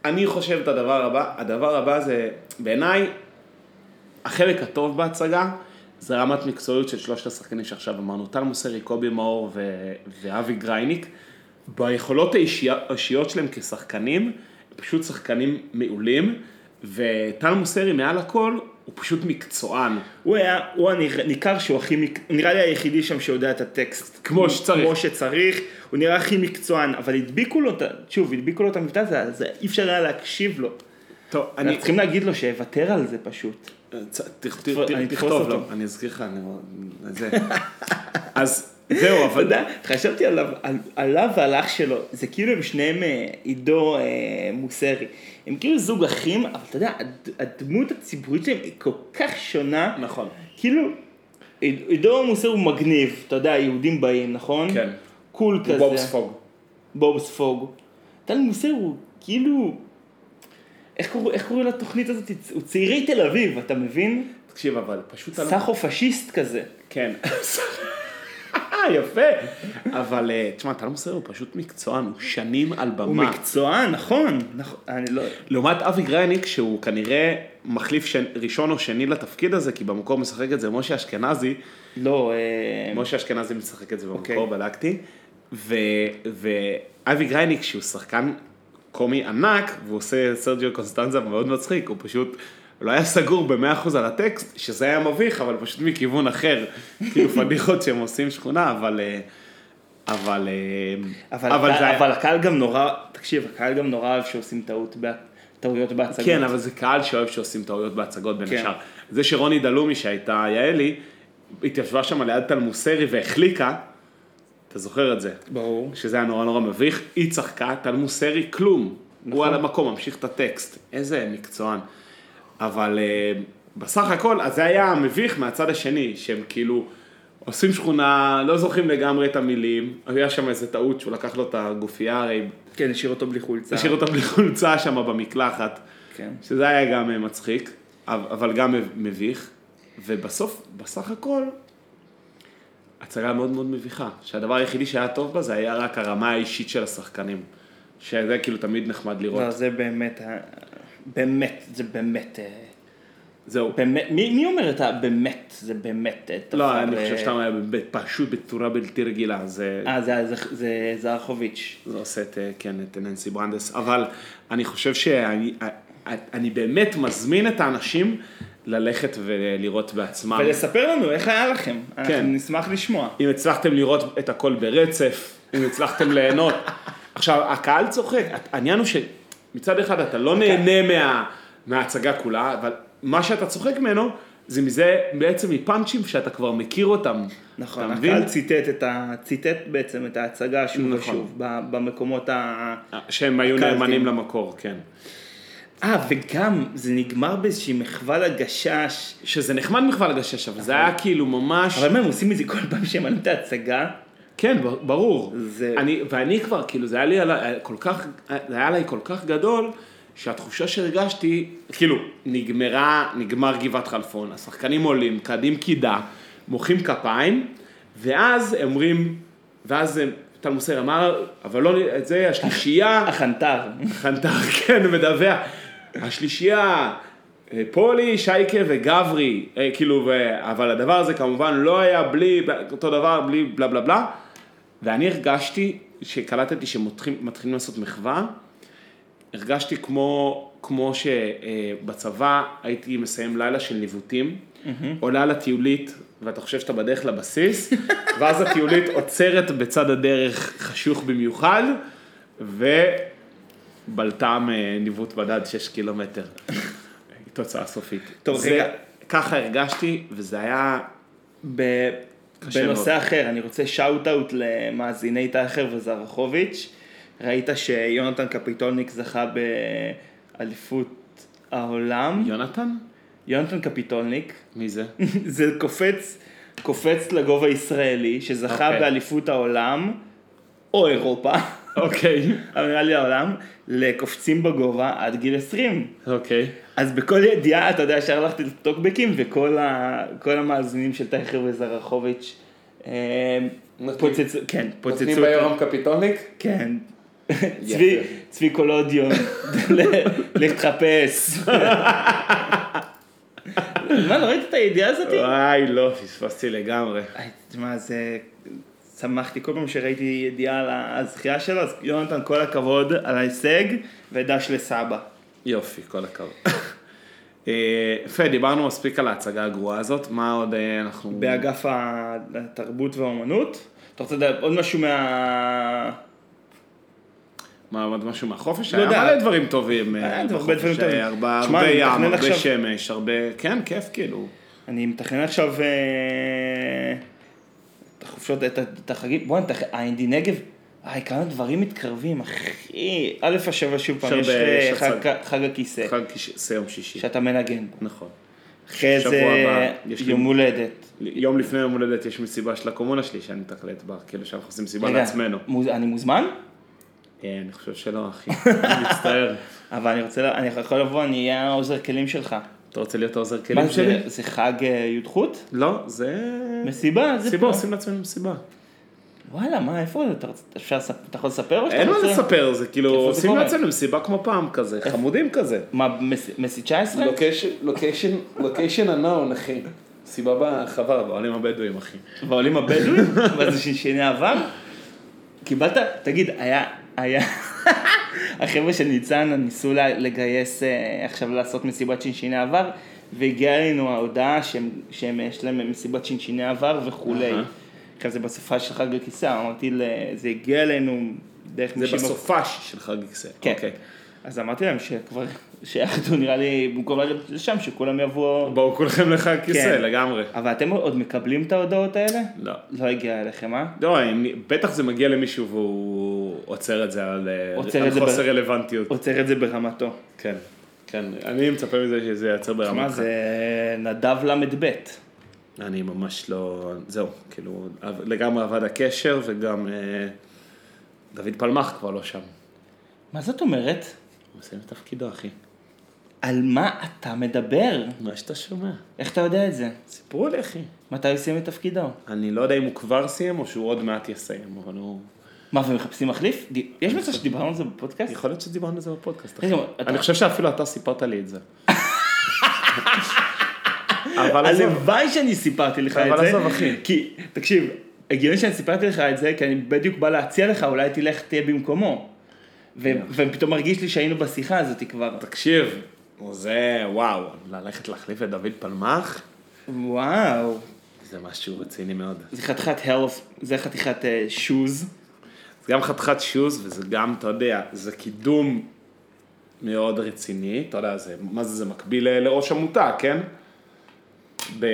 אני חושב את הדבר הבא, הדבר הבא זה, בעיניי, החלק הטוב בהצגה, זה רמת מקצועיות של שלושת השחקנים שעכשיו אמרנו, טל מוסרי, קובי מאור ו- ואבי גרייניק. ביכולות האישי- האישיות שלהם כשחקנים, הם פשוט שחקנים מעולים, וטל מוסרי מעל הכל, הוא פשוט מקצוען. הוא היה, הוא הנרא- ניכר שהוא הכי, מק- הוא נראה לי היחידי שם שיודע את הטקסט. כמו שצריך. כמו שצריך, הוא נראה הכי מקצוען, אבל הדביקו לו, את ה- שוב, הדביקו לו את המבטא הזה, אז אי אפשר היה להקשיב לו. טוב, אנחנו אני... צריכים להגיד לו שיוותר על זה פשוט. צ- ת- ת- ת- אני אתפוס תכתוב אותו. לו, אני אזכיר לך, אני... לא- זה. אז זהו, אתה אבל... יודע, חשבתי עליו, על, עליו ועל אח שלו, זה כאילו הם שניהם אה, עידו אה, מוסרי. הם כאילו זוג אחים, אבל אתה יודע, הד, הדמות הציבורית שלהם היא כל כך שונה. נכון. כאילו, עיד- עידו מוסרי הוא מגניב, אתה יודע, יהודים באים, נכון? כן. קול כזה. בוב ספוג. בוב ספוג. טל מוסרי הוא כאילו... איך קורא- איך קוראים לתוכנית הזאת? הוא צעירי תל אביב, אתה מבין? תקשיב, אבל פשוט... לא סאחו פשיסט כזה. כן. יפה. אבל אה, תשמע, טל מוסר הוא פשוט מקצוען, הוא שנים על הוא במה. מקצוען, נכון, נכון, אני לא... לעומת אבי גרייניק, שהוא כנראה מחליף שנ- ראשון או שני לתפקיד הזה, כי במקור משחק את זה משה אשכנזי. לא, אה, משה אשכנזי משחק את זה במקור, אוקיי. בדקתי. ו- ואבי גרייניק, שהוא שחקן קומי ענק, והוא עושה סרג'יו קונסטנזה מאוד מצחיק, הוא פשוט לא היה סגור ב-100% על הטקסט, שזה היה מביך, אבל פשוט מכיוון אחר. כאילו פדיחות שהם עושים שכונה, אבל... אה, אבל... אה, אבל, אבל אבל, זה הקהל, היה- אבל הקהל גם נורא, תקשיב, הקהל גם נורא אוהב שעושים טעות, בה- טעויות בהצגות. כן, אבל זה קהל שאוהב שעושים טעויות בהצגות בין כן. השאר. זה שרוני דלומי שהייתה יעלי, התיישבה שם ליד תלמוסרי והחליקה, אתה זוכר את זה, ברור. שזה היה נורא נורא מביך, היא צחקה, תלמוסרי כלום, הוא על המקום, ממשיך את הטקסט, איזה מקצוען. אבל אה, בסך הכל, אז זה היה מביך מהצד השני, שהם כאילו עושים שכונה, לא זוכרים לגמרי את המילים, היה שם איזה טעות שהוא לקח לו את הגופייה, הרי כן, השאיר אותו בלי חולצה. השאיר אותה בלי חולצה שם במקלחת. כן. שזה היה גם אה, מצחיק, אב- אבל גם מב- מביך, ובסוף, בסך הכל, הצגה מאוד מאוד מביכה, שהדבר היחידי שהיה טוב בה זה היה רק הרמה האישית של השחקנים, שזה כאילו תמיד נחמד לראות. לא, זה באמת, ה- באמת, זה באמת, אה, זהו. באמת, מי מי אומר את הבאמת, זה באמת, אה, דבר, לא, אני אה, חושב שאתה היה ב- פשוט בצורה בלתי רגילה, זה... אה, זה- זה- זה זרחוביץ'. זה עושה את, אה, כן, את ננסי ברנדס, אבל אני חושב שאני אה, אני באמת מזמין את האנשים ללכת ולראות בעצמם. ולספר לנו איך היה לכם, כן. אנחנו נשמח לשמוע. אם הצלחתם לראות את הכל ברצף, אם הצלחתם ליהנות. עכשיו, הקהל צוחק, העניין הוא שמצד אחד אתה לא נהנה מה, מההצגה כולה, אבל מה שאתה צוחק ממנו, זה מזה, בעצם מפאנצ'ים שאתה כבר מכיר אותם. נכון, אתה מבין? הקהל ציטט את ה... ציטט בעצם את ההצגה שוב נכון. ושוב, ב- במקומות ה... שהם היו הקהל נאמנים ציין. למקור, כן. אה, וגם זה נגמר באיזושהי מחווה לגשש. שזה נחמד בכלל לגשש, אבל זה היה כאילו ממש... אבל מה, הם עושים את זה כל פעם שהם עלו את ההצגה? כן, בר- ברור. זה- אני, ואני כבר, כאילו, זה היה לי עלי, כל כך, אה, זה היה עליי כל כך גדול, שהתחושה שהרגשתי, כאילו, נגמרה, נגמר גבעת חלפון, השחקנים עולים, קדים קידה, מוחאים כפיים, ואז הם אומרים, ואז הם- טל מוסר אמר, אבל לא, את זה השלישייה, החנתר. חנתר, כן, מדווח. השלישייה, אה, פולי, שייקה וגברי, אה, כאילו, ו- אבל הדבר הזה כמובן לא היה בלי, אותו דבר, בלי בלה בלה בלה, ואני הרגשתי, שקלטתי שמתחילים לעשות מחווה, הרגשתי כמו, כמו שבצבא הייתי מסיים לילה של ניווטים, עולה על הטיולית, ואתה חושב שאתה בדרך לבסיס, ואז הטיולית עוצרת בצד הדרך חשוך במיוחד, ובלטם אה, ניווט בדד 6 קילומטר. תוצאה סופית. טוב, זה- רגע. ככה הרגשתי, וזה היה... ב- קשה בנושא אחר, אני רוצה שאוט אאוט למאזיני טייכר וזרחוביץ'. ראית שיונתן קפיטולניק זכה באליפות העולם? יונתן? יונתן קפיטולניק, מי זה? זה קופץ, קופץ לגובה ישראלי, שזכה אוקיי. באליפות העולם, או אירופה, אוקיי. אבל נראה לי העולם, לקופצים בגובה עד גיל 20. אוקיי. אז בכל ידיעה, אתה יודע, אפשר ללכת לטוקבקים, וכל ה, כל המאזינים של טייכר וזרחוביץ' אה, נותנים- פוצצו, כן, נותנים פוצצו, ביורם קפיטולניק? כן. צבי, צבי קולודיון, ל- לחפש. מה, לא ראית את הידיעה הזאת? וואי, לא, פספסתי לגמרי. היי, תשמע, זה... שמחתי כל פעם שראיתי ידיעה על הזכייה שלו, אז יונתן, כל הכבוד על ההישג, ודש לסבא. יופי, כל הכבוד. אה, יפה, דיברנו מספיק על ההצגה הגרועה הזאת, מה עוד אה, אנחנו... באגף התרבות והאומנות. אתה רוצה לדעת עוד משהו מה... מה, עוד משהו מהחופש? לא יודע. היה מלא דברים טובים. היה אה, הרבה בחופש, דברים טובים. אה, הרבה תשמע, הרבה אני ים, מתכנן הרבה עכשיו- שמש, הרבה... כן, כיף, כאילו. אני מתכנן עכשיו אה, את החופשות, את, ה- את החגים. בוא'נה, תח... האינדי אה, נגב, איי, כמה דברים מתקרבים, אחי. א' השבוע שוב פעם, עכשיו יש ב- אה, יש חג, הצג. חג הכיסא, חג כש- זה יום שישי. שאתה מנגן בו. נכון. אחרי שבוע זה הבא, יש לי- יום הולדת. יום לפני יום הולדת יש מסיבה של הקומונה שלי שאני מתקלט בה, כאילו שאנחנו עושים מסיבה רגע, לעצמנו. מוז... אני מוזמן? אה, אני חושב שלא, אחי. אני מצטער. אבל אני רוצה, ל- אני יכול לבוא, אני אהיה העוזר כלים שלך. אתה רוצה להיות העוזר מה כלים שלי? זה, זה חג אה, י"ח? לא, זה... מסיבה? זה מסיבה, עושים לעצמנו מסיבה. וואלה, מה, איפה זה? אתה, רוצה- אפשר, לספ- אתה יכול לספר או שאתה אין מה רוצה? לספר, זה כאילו, איפה זה עושים כן. קורה? כן. לעצמנו מסיבה כמו פעם כזה, חמודים כזה. מה, מס- מסי 19? לוקיישן הנאון, אחי. סיבה בחווה, בעולים הבדואים, אחי. בעולים הבדואים? מה זה שני עבר? קיבלת, תגיד, היה, היה, החבר'ה של ניצן ניסו ל- לגייס, אה, עכשיו לעשות מסיבת שינשיני עבר, והגיעה אלינו ההודעה שהם, שהם, יש להם מסיבת שינשיני עבר וכולי. אהה. עכשיו זה בסופה של חג הכיסא, אמרתי, ל- זה הגיע אלינו דרך זה מישהי- בסופש של חג כיסא. כן. אוקיי. אז אמרתי להם שכבר, שיחדו נראה לי, במקום ללכת לשם, שכולם יבואו. בואו כולכם לך כיסא, כן. לגמרי. אבל אתם עוד מקבלים את ההודעות האלה? לא. לא הגיע אליכם, אה? לא, אם- בטח זה מגיע למישהו והוא עוצר את זה על, אה, עוצר על את זה ב- חוסר רלוונטיות. עוצר את זה ברמתו. כן, כן. אני מצפה מזה שזה ייעצר מה ברמתך. זה נדב ל"ב. אני ממש לא... זהו, כאילו, לגמרי אבד הקשר, וגם אה, דוד פלמח כבר לא שם. מה זאת אומרת? הוא עושה את תפקידו, אחי. על מה אתה מדבר? מה שאתה שומע. איך אתה יודע את זה? סיפרו לי, אחי. מתי הוא סיים את תפקידו? אני לא יודע אם הוא כבר סיים, או שהוא עוד מעט יסיים, אבל הוא... מה, ומחפשים מחליף? די- יש מצב שדיברנו על זה בפודקאסט? יכול להיות שדיברנו על זה בפודקאסט. אחי. רגע, אתה- אני חושב שאפילו אתה סיפרת לי את זה. אבל עזוב. הלוואי שאני סיפרתי לך את זה. אבל עזוב, אחי. כי, תקשיב, הגיוני שאני סיפרתי לך את זה, כי אני בדיוק בא להציע לך, אולי תלך תהיה במקומו. ו- ופתאום מרגיש לי שהיינו בשיחה הזאת כבר. תקשיב, זה וואו, ללכת להחליף את דוד פלמח, וואו. זה משהו רציני מאוד. זה חתיכת הלף, זה חתיכת אה, שוז. זה גם חתיכת שוז, וזה גם, אתה יודע, זה קידום מאוד רציני, אתה יודע, זה, מה זה, זה מקביל ל- לראש עמותה, כן? ב,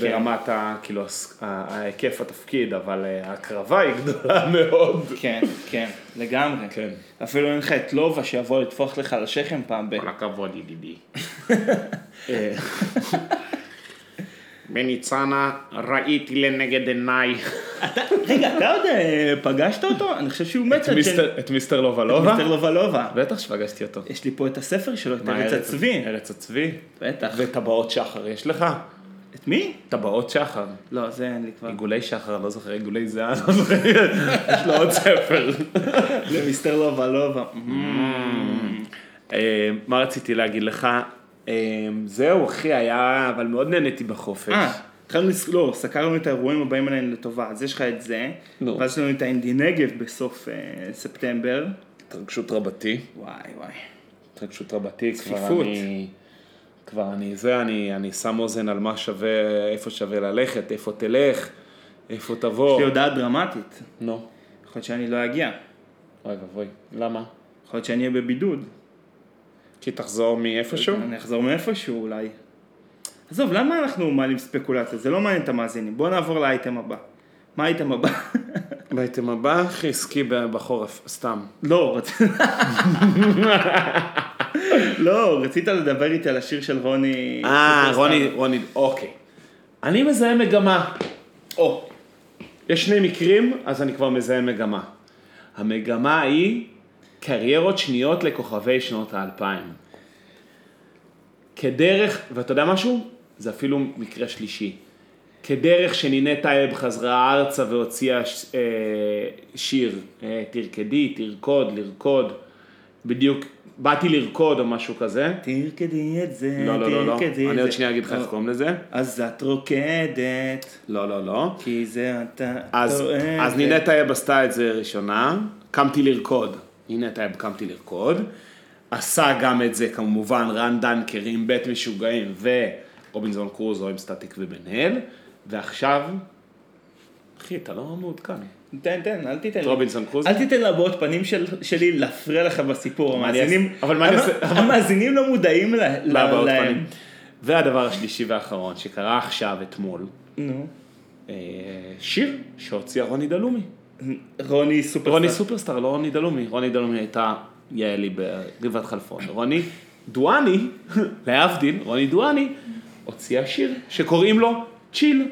כן. ברמת ה... כאילו, הס- ה- ההיקף התפקיד, אבל אה, ההקרבה היא גדולה מאוד. כן, כן, לגמרי. כן. אפילו אין לך את לובה שיבוא לטפוח לך על השכם פעם ב... כל הכבוד, ידידי. אה, בניצנה ראיתי לנגד עיניי. רגע, אתה עוד אה, פגשת אותו? אני חושב שהוא מת. עד ש- כן. את מיסטר לובלובה? מיסטר לובה לובה. בטח שפגשתי אותו. יש לי פה את הספר שלו, את מה, ארץ הצבי. ארץ הצבי. בטח. וטבעות שחר יש לך? את מי? טבעות שחר. לא, זה אין לי כבר. עיגולי שחר, אני לא זוכר, עיגולי זהב, אני לא זוכר, יש לו עוד ספר. זה מיסטר לובה לובה. אה, מה רציתי להגיד לך? אה, זהו, אחי, היה, אבל מאוד נהניתי בחופש. אה, התחלנו לס... לא, סקרנו את האירועים הבאים עלינו לטובה. אז יש לך את זה. נו. ואז יש לנו את האינדי נגב בסוף אה, ספטמבר. התרגשות רבתי. וואי וואי. התרגשות רבתי, כבר צפיפות. אני... כבר אני זה, אני, אני שם אוזן על מה שווה, איפה שווה ללכת, איפה תלך, איפה יש תבוא. לי הודעה דרמטית. נו, יכול להיות שאני לא אגיע. אוי ואבוי, למה? יכול להיות שאני אהיה בבידוד. כי תחזור מאיפשהו? אני אחזור מאיפשהו אולי. עזוב, למה אנחנו מעלים ספקולציה? זה לא מעניין את המאזינים. בואו נעבור לאייטם הבא. מה האייטם הבא? אוקיי. באייטם הבא, אחי, סקי ב- בחורף, סתם. לא, רצ... לא, רצית לדבר איתי על השיר של רוני... אה, סופרסטאר. רוני, רוני, אוקיי. אני מזהה מגמה. או, יש שני מקרים, אז אני כבר מזהה מגמה. המגמה היא קריירות שניות לכוכבי שנות האלפיים. כדרך, ואתה יודע משהו? זה אפילו מקרה שלישי. כדרך שנינה טייב חזרה ארצה והוציאה ש- אה, שיר, אה, תרקדי, תרקוד, לרקוד, בדיוק, באתי לרקוד או משהו כזה. תרקדי את זה, לא, לא, לא, לא, תרקדי כן, את אני זה. עוד שנייה אגיד לך איך קוראים לזה. אז את רוקדת, לא, לא, לא. כי זה אתה אז, טוען. אז נינה טייב עשתה את זה ראשונה, קמתי לרקוד, נינה טייב קמתי לרקוד, עשה גם את זה כמובן רן דנקר עם בית משוגעים ורובינזון קרוזו עם סטטיק ובן אל, ועכשיו, אחי אתה לא מעודכן, תן, תן, אל תיתן. לי. רובינזון קרוזו, אה, אל תיתן לבעות פנים של, שלי להפריע לך בסיפור, מה אני המאזינים, אעשה? אבל מה אני המ- אעשה? המאזינים לא מודעים ל- ל- להבעות להם. פנים. והדבר השלישי והאחרון שקרה עכשיו אתמול, נו. אה, שיר שהוציאה רוני דלומי. רוני סופרסטאר. רוני סופרסטאר, לא רוני דלומי. רוני דלומי הייתה יעלי בגבעת חלפון. רוני דואני, להבדיל, רוני דואני, הוציאה שיר שקוראים לו צ'יל.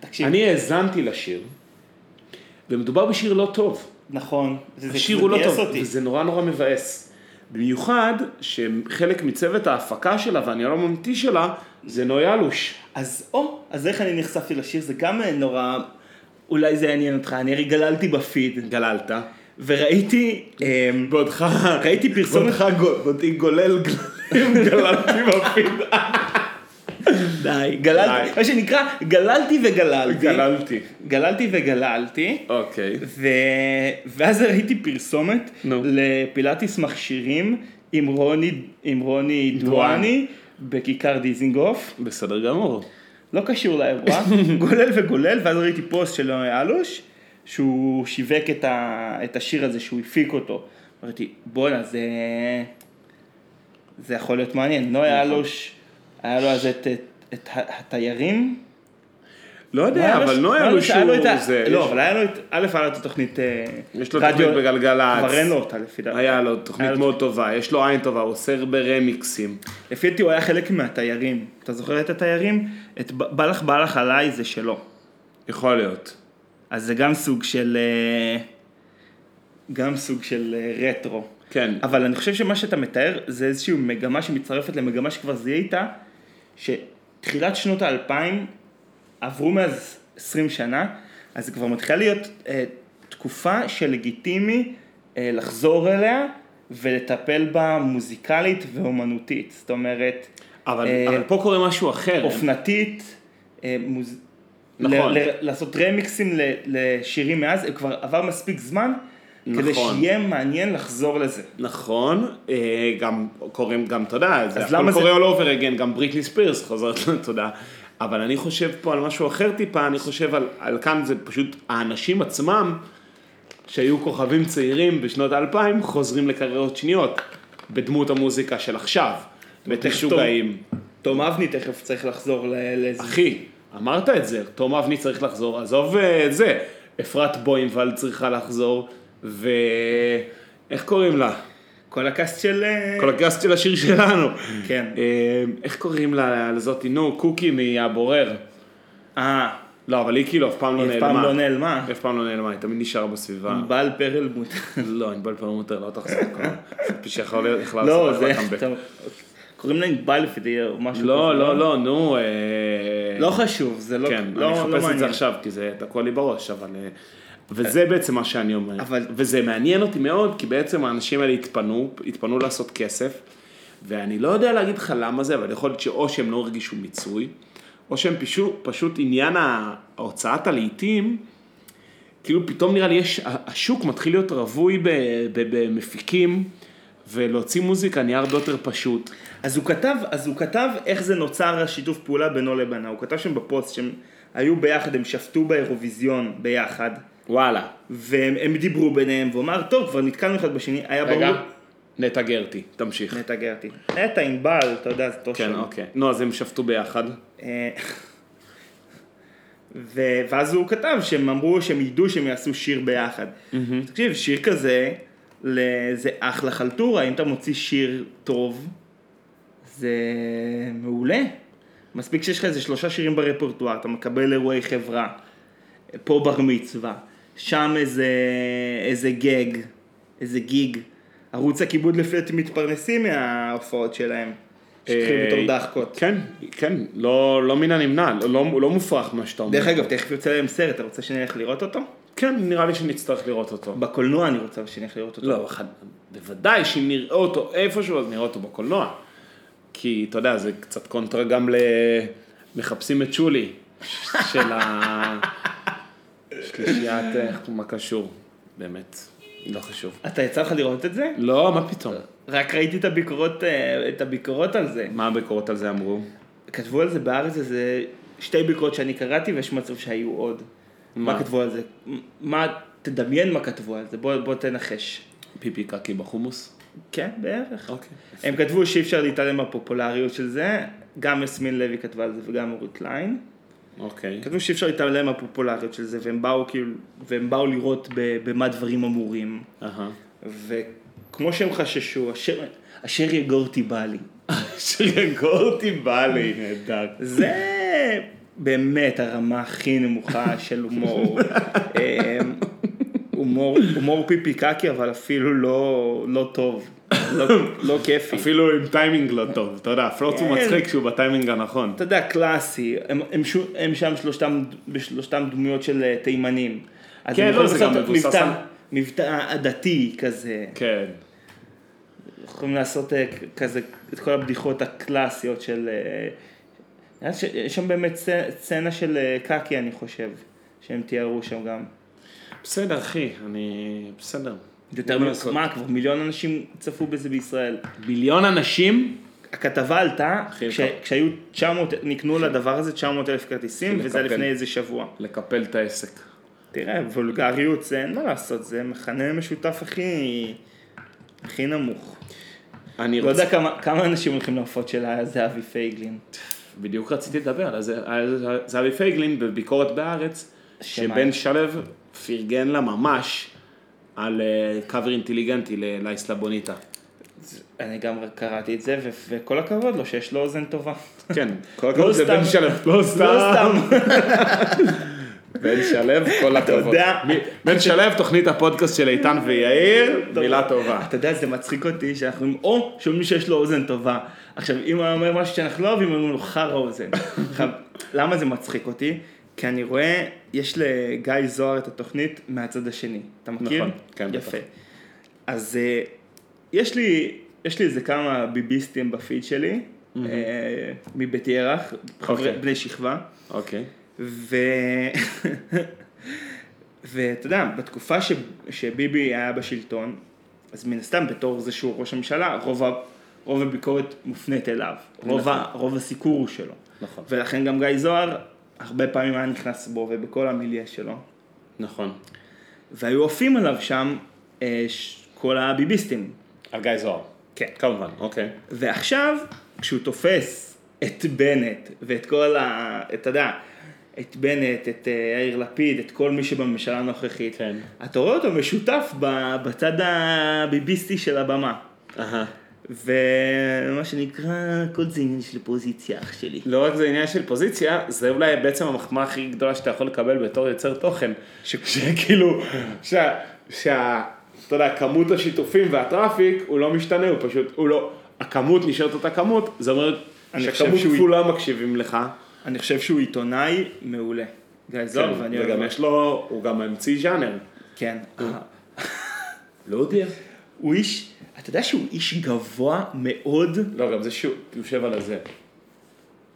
תקשיב, אני האזנתי לשיר, ומדובר בשיר לא טוב. נכון. וזה- השיר זה הוא לא ביאס טוב, אותי. וזה נורא נורא מבאס. במיוחד שחלק מצוות ההפקה שלה והניהול הממתי שלה זה נויה אלוש. אז או, אז איך אני נחשפתי לשיר, זה גם אה, נורא, אולי זה יעניין אותך, אני הרי גללתי בפיד, גללת. וראיתי, אמ, בעודך, ראיתי פרסומת, בעודך גול- בעודי גולל גללים, גללתי בפיד. די, גללתי, די. מה שנקרא, גללתי וגללתי, גללתי. גללתי וגללתי, אוקיי. ו... ואז ראיתי פרסומת נו. לפילאטיס מכשירים עם רוני, עם רוני דואני בכיכר דיזינגוף, בסדר גמור. לא קשור לאירוע, גולל וגולל, ואז ראיתי פוסט של נוי אלוש, שהוא שיווק את, ה, את השיר הזה, שהוא הפיק אותו. אמרתי, בואנה, זה... זה יכול להיות נכון. מעניין. נוי היה לו, ש- היה לו אז את, את, את ה- התיירים. לא יודע, אבל ש- לא היה לו ש- היה שהוא... את ה- זה- לא, אבל היה לו את, א', היה לו את התוכנית אה, יש לו רדיו- תוכנית בגלגלצ. כבר אין לו אותה לפי דעתי. היה לו תוכנית היה לו- מאוד טובה, יש לו עין טובה, הוא עושה הרבה רמיקסים. לפי דעתי הוא היה חלק מהתיירים. אתה זוכר את התיירים? את ב- בלח בלח עליי זה שלו. יכול להיות. אז זה גם סוג של... אה, גם סוג של אה, רטרו. כן. אבל אני חושב שמה שאתה מתאר זה איזושהי מגמה שמצטרפת למגמה שכבר זיהית, שתחילת שנות האלפיים, עברו מאז 20 שנה, אז זה כבר מתחילה להיות אה, תקופה שלגיטימי אה, לחזור אליה ולטפל בה מוזיקלית ואומנותית. זאת אומרת, אבל אה, אבל פה קורה משהו אחר. אופנתית, אה, מוז... נכון. ל- ל- לעשות רמיקסים ל- לשירים מאז, אה, כבר עבר מספיק זמן, כדי נכון. שיהיה מעניין לחזור לזה. נכון, אה, גם קוראים, גם אתה יודע, זה למה הכל זה- קורה all over again, גם בריטלי ספירס חוזרת לתודה. אבל אני חושב פה על משהו אחר טיפה, אני חושב על, על כאן זה פשוט האנשים עצמם, שהיו כוכבים צעירים בשנות האלפיים, חוזרים לקריירות שניות, בדמות המוזיקה של עכשיו, בתשוגעים. תום אבני תכף צריך לחזור ל- לזה. אחי, אמרת את זה, תום אבני צריך לחזור, עזוב אה, את זה, אפרת בוימוולד צריכה לחזור, ו... איך קוראים לה? כל הקאסט של... אה, כל הגסט של השיר שלנו. כן. אה, איך קוראים לה לזאתי? נו, קוקי מהבורר. אה, לא, אבל היא כאילו אף פעם לא היא אף נעלמה. אה. פעם לא נעלמה. אף פעם לא נעלמה, היא תמיד נשארה בסביבה. בעל פרלמוט. לא, אני בלפל מותר, לא תחזור כבר. שיכול להיות, יכלה לעשות לא, אחלה זה... קאמבק. טוב. קוראים להם בלפדי או משהו לא, כזה, לא, לא, נו. אה, לא חשוב, זה לא... כן, לא- אני לא אחפש את זה מעניין. עכשיו, כי זה תקוע לי בראש, אבל... אה, וזה בעצם מה שאני אומר. אבל- וזה מעניין אותי מאוד, כי בעצם האנשים האלה התפנו, התפנו לעשות כסף, ואני לא יודע להגיד לך למה זה, אבל יכול להיות שאו שהם לא הרגישו מיצוי, או שהם פשוט, פשוט עניין ה- הוצאת הלהיטים, כאילו פתאום נראה לי יש, ה- השוק מתחיל להיות רווי ב- ב- במפיקים, ולהוציא מוזיקה נהיה הרבה יותר פשוט. אז הוא כתב, אז הוא כתב איך זה נוצר השיתוף פעולה בינו לבינה. הוא כתב שם בפוסט שהם היו ביחד, הם שבתו באירוויזיון ביחד, וואלה. והם הם דיברו ביניהם, והוא אמר, טוב, כבר נתקלנו אחד בשני, היה ברור... רגע, נטע גרטי, תמשיך. נטע גרטי. נטע ענבל, אתה יודע, זה אותו כן, שם. אוקיי. נו, אז הם שבתו ביחד. אה, ו- ואז הוא כתב שהם אמרו שהם ידעו שהם יעשו שיר ביחד. תקשיב, שיר כזה, ל- זה אחלה חלטורה, אם אתה מוציא שיר טוב, זה מעולה. מספיק שיש לך איזה שלושה שירים ברפרטואר, אתה מקבל אירועי חברה, פה בר מצווה, שם איזה, איזה גג, איזה גיג. ערוץ הכיבוד לפי דעתי מתפרנסים מההופעות שלהם, שהתחילו בתור אה, דחקות. כן, כן, לא, לא מן הנמנע, לא, לא מופרך מה שאתה אומר. דרך אגב, תכף יוצא להם סרט, אתה רוצה שנלך לראות אותו? כן, נראה לי שנצטרך לראות אותו. בקולנוע אני רוצה שנלך לראות אותו. לא, אחד, בוודאי שאם נראה אותו איפשהו, אז נראה אותו בקולנוע. כי, אתה יודע, זה קצת קונטרה גם ל... מחפשים את שולי, של ה... שלישיית, אה, איך- מה קשור, באמת, לא חשוב. אתה יצא לך לראות את זה? לא, מה פתאום? רק ראיתי את הביקורות, אה, את הביקורות על זה. מה הביקורות על זה אמרו? כתבו על זה בארץ איזה שתי ביקורות שאני קראתי, ויש מצב שהיו עוד. מה? מה כתבו על זה? מ- מה, תדמיין מה כתבו על זה, בוא בוא תנחש. פיפי קקי בחומוס? כן, בערך. אוקיי. הם כתבו שאי אפשר להתעלם מהפופולריות של זה, גם יסמין לוי כתבה על זה וגם אורית ליין. אוקיי. כתבו שאי אפשר להתעלם מהפופולריות של זה, והם באו כאילו, והם באו לראות ב- במה דברים אמורים. אהה. וכמו שהם חששו, אשר, אשר יגורתי בא לי. שרגורתי בא לי, נהדר. זה באמת הרמה הכי נמוכה של הומור. אמ, הומור, הומור פיפי קקי, אבל אפילו לא, לא טוב, לא, לא כיפי. אפילו עם טיימינג לא טוב, אתה יודע, פלוט הוא כן. מצחיק שהוא בטיימינג הנכון. אתה יודע, קלאסי, הם, הם, שו, הם שם שלושתם, בשלושתם דמויות של אה, תימנים. אז כן, הם לא, יכולים זה גם לעשות מבוסס מבטא- על- מבטא עדתי כזה. כן. יכולים לעשות אה, כ- כזה את כל הבדיחות הקלאסיות של... אה, נראה לי ש- יש שם באמת סצ- סצנה של אה, קקי, אני חושב, שהם תיארו שם גם. בסדר, אחי, אני... בסדר. יותר מה מ... לעשות? מה, כבר מיליון אנשים צפו בזה בישראל. מיליון אנשים? הכתבה עלתה, אחי, כש- טוב. כשהיו 900, נקנו לדבר הזה 900 אלף כרטיסים, אחי, וזה היה לקפל. לפני איזה שבוע. לקפל את העסק. תראה, וולגריות זה אין מה לעשות, זה מכנה משותף הכי... הכי נמוך. אני לא רוצה- יודע כמה- כמה אנשים הולכים להופעות של זהבי פייגלין. בדיוק רציתי לדבר על זה, על זה- זהבי פייגלין בביקורת בהארץ, שמה? שבן שלו פרגן לה ממש על אה, קאבר אינטליגנטי לאיסלה בוניטה. אני גם קראתי את זה, ו- וכל הכבוד לו שיש לו אוזן טובה. כן, כל הכבוד זה סתם. בן שלו. לא לא סתם. בן שלו, כל הכבוד. יודע. מ- בן שלו, תוכנית הפודקאסט של איתן ויאיר, מילה טובה. אתה יודע, זה מצחיק אותי שאנחנו עם או שמישהו שיש לו אוזן טובה. עכשיו, אם הוא היה אומר משהו שאנחנו לא אוהבים, אומרים לו חרא אוזן. עכשיו, למה זה מצחיק אותי? כי אני רואה, יש לגיא זוהר את התוכנית מהצד השני. אתה מכיר? נכון, כן, בטח. יפה. אז אה, יש לי, יש לי איזה כמה ביביסטים בפיד שלי, אה, מבית ירח, חברי- אוקיי. בני שכבה. אוקיי. ו... ואתה יודע, בתקופה ש... שביבי היה בשלטון, אז מן הסתם בתור זה שהוא ראש הממשלה, רוב, ה... רוב הביקורת מופנית אליו, רוב, ה... רוב הסיקור הוא שלו. נכון. ולכן גם גיא זוהר, הרבה פעמים היה נכנס בו ובכל המיליה שלו, נכון. והיו עפים עליו שם אה, ש... כל הביביסטים. על גיא זוהר. כן. כמובן, אוקיי. ועכשיו, כשהוא תופס את בנט ואת כל ה... אתה יודע, את בנט, את אה, יאיר לפיד, את כל מי שבממשלה הנוכחית, כן. אתה רואה אותו משותף ב- בצד הביביסטי של הבמה. אהה. ומה שנקרא, כל זה עניין של פוזיציה, אח שלי. לא רק זה עניין של פוזיציה, זה אולי בעצם המחמאה הכי גדולה שאתה יכול לקבל בתור יוצר תוכן. ש- שכאילו, שה... שה... אתה יודע, כמות השיתופים והטראפיק, הוא לא משתנה, הוא פשוט, הוא לא... הכמות נשארת אותה כמות, זה אומר אני חושב שהכמות שהוא- כפולה מקשיבים לך. אני חושב שהוא עיתונאי מעולה. גיא לא, זוהר, ואני אוהב... כאילו, וגם אותו. יש לו, הוא גם המציא ז'אנר. כן. לא יודע. הוא איש, אתה יודע שהוא איש גבוה מאוד? לא, גם זה שהוא יושב על הזה.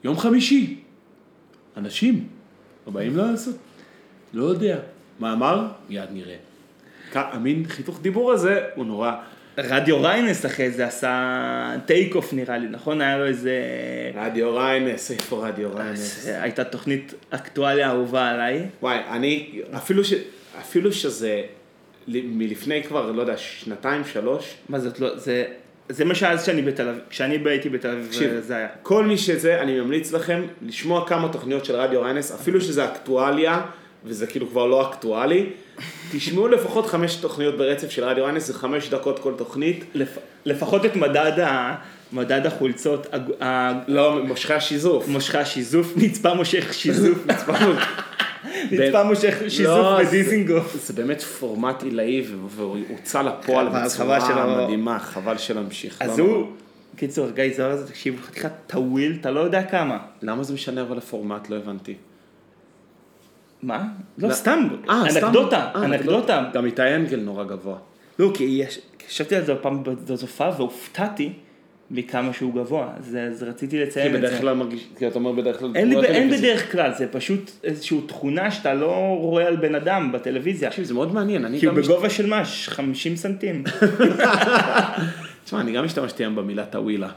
יום חמישי. אנשים. הבאים לעשות. לא יודע. מאמר? מיד נראה. כ- המין חיתוך דיבור הזה הוא נורא. רדיו ריינס אחרי זה עשה טייק אוף נראה לי, נכון? היה לו איזה... רדיו ריינס, איפה רדיו ריינס? אה, הייתה תוכנית אקטואליה אהובה עליי. וואי, אני, אפילו, ש, אפילו שזה ל- מלפני כבר, לא יודע, שנתיים, שלוש, מה זאת לא... זה... זה מה שאז שאני בתל אביב, כשאני הייתי בתל אביב אה, תקשיב, זה היה. כל מי שזה, אני ממליץ לכם לשמוע כמה תוכניות של רדיו ריינס, אפילו שזה אקטואליה, וזה כאילו כבר לא אקטואלי, תשמעו לפחות חמש תוכניות ברצף של רדיו ריינס, זה חמש דקות כל תוכנית. לפ... לפחות את מדד, ה... מדד החולצות, הג... ה... לא, מושכי השיזוף. מושכי השיזוף, נצפה מושך שיזוף, מצפון. נצפה מושך שיזוף לא, זה- בדיזינגוף. זה באמת פורמט עילאי, והוא הוצא לפועל חבל, חבל בצורה שלא- מדהימה, חבל שלהמשיך. אז לא הוא, קיצור, גיא זוהר הזה, תקשיב, חתיכת טוויל, אתה לא יודע כמה. למה זה משנה אבל הפורמט? לא הבנתי. מה? לא, לא. סתם, אה, סתם. אנקדוטה, אה, אנקדוטה. גם איתי אנגל נורא גבוה. לא, כי יש- ישבתי על זה פעם בזופה והופתעתי מכמה שהוא גבוה, אז, אז רציתי כי לציין את בדרך זה. כלל מרגיש, כי אתה אומר בדרך כלל... אין, לי, לא אין טלוויזיה. בדרך כלל, זה פשוט איזושהי תכונה שאתה לא רואה על בן אדם בטלוויזיה. תקשיב, זה מאוד מעניין, אני כי הוא גם... בגובה של מה? 50 סנטים. תשמע, אני גם השתמשתי היום במילה טאווילה.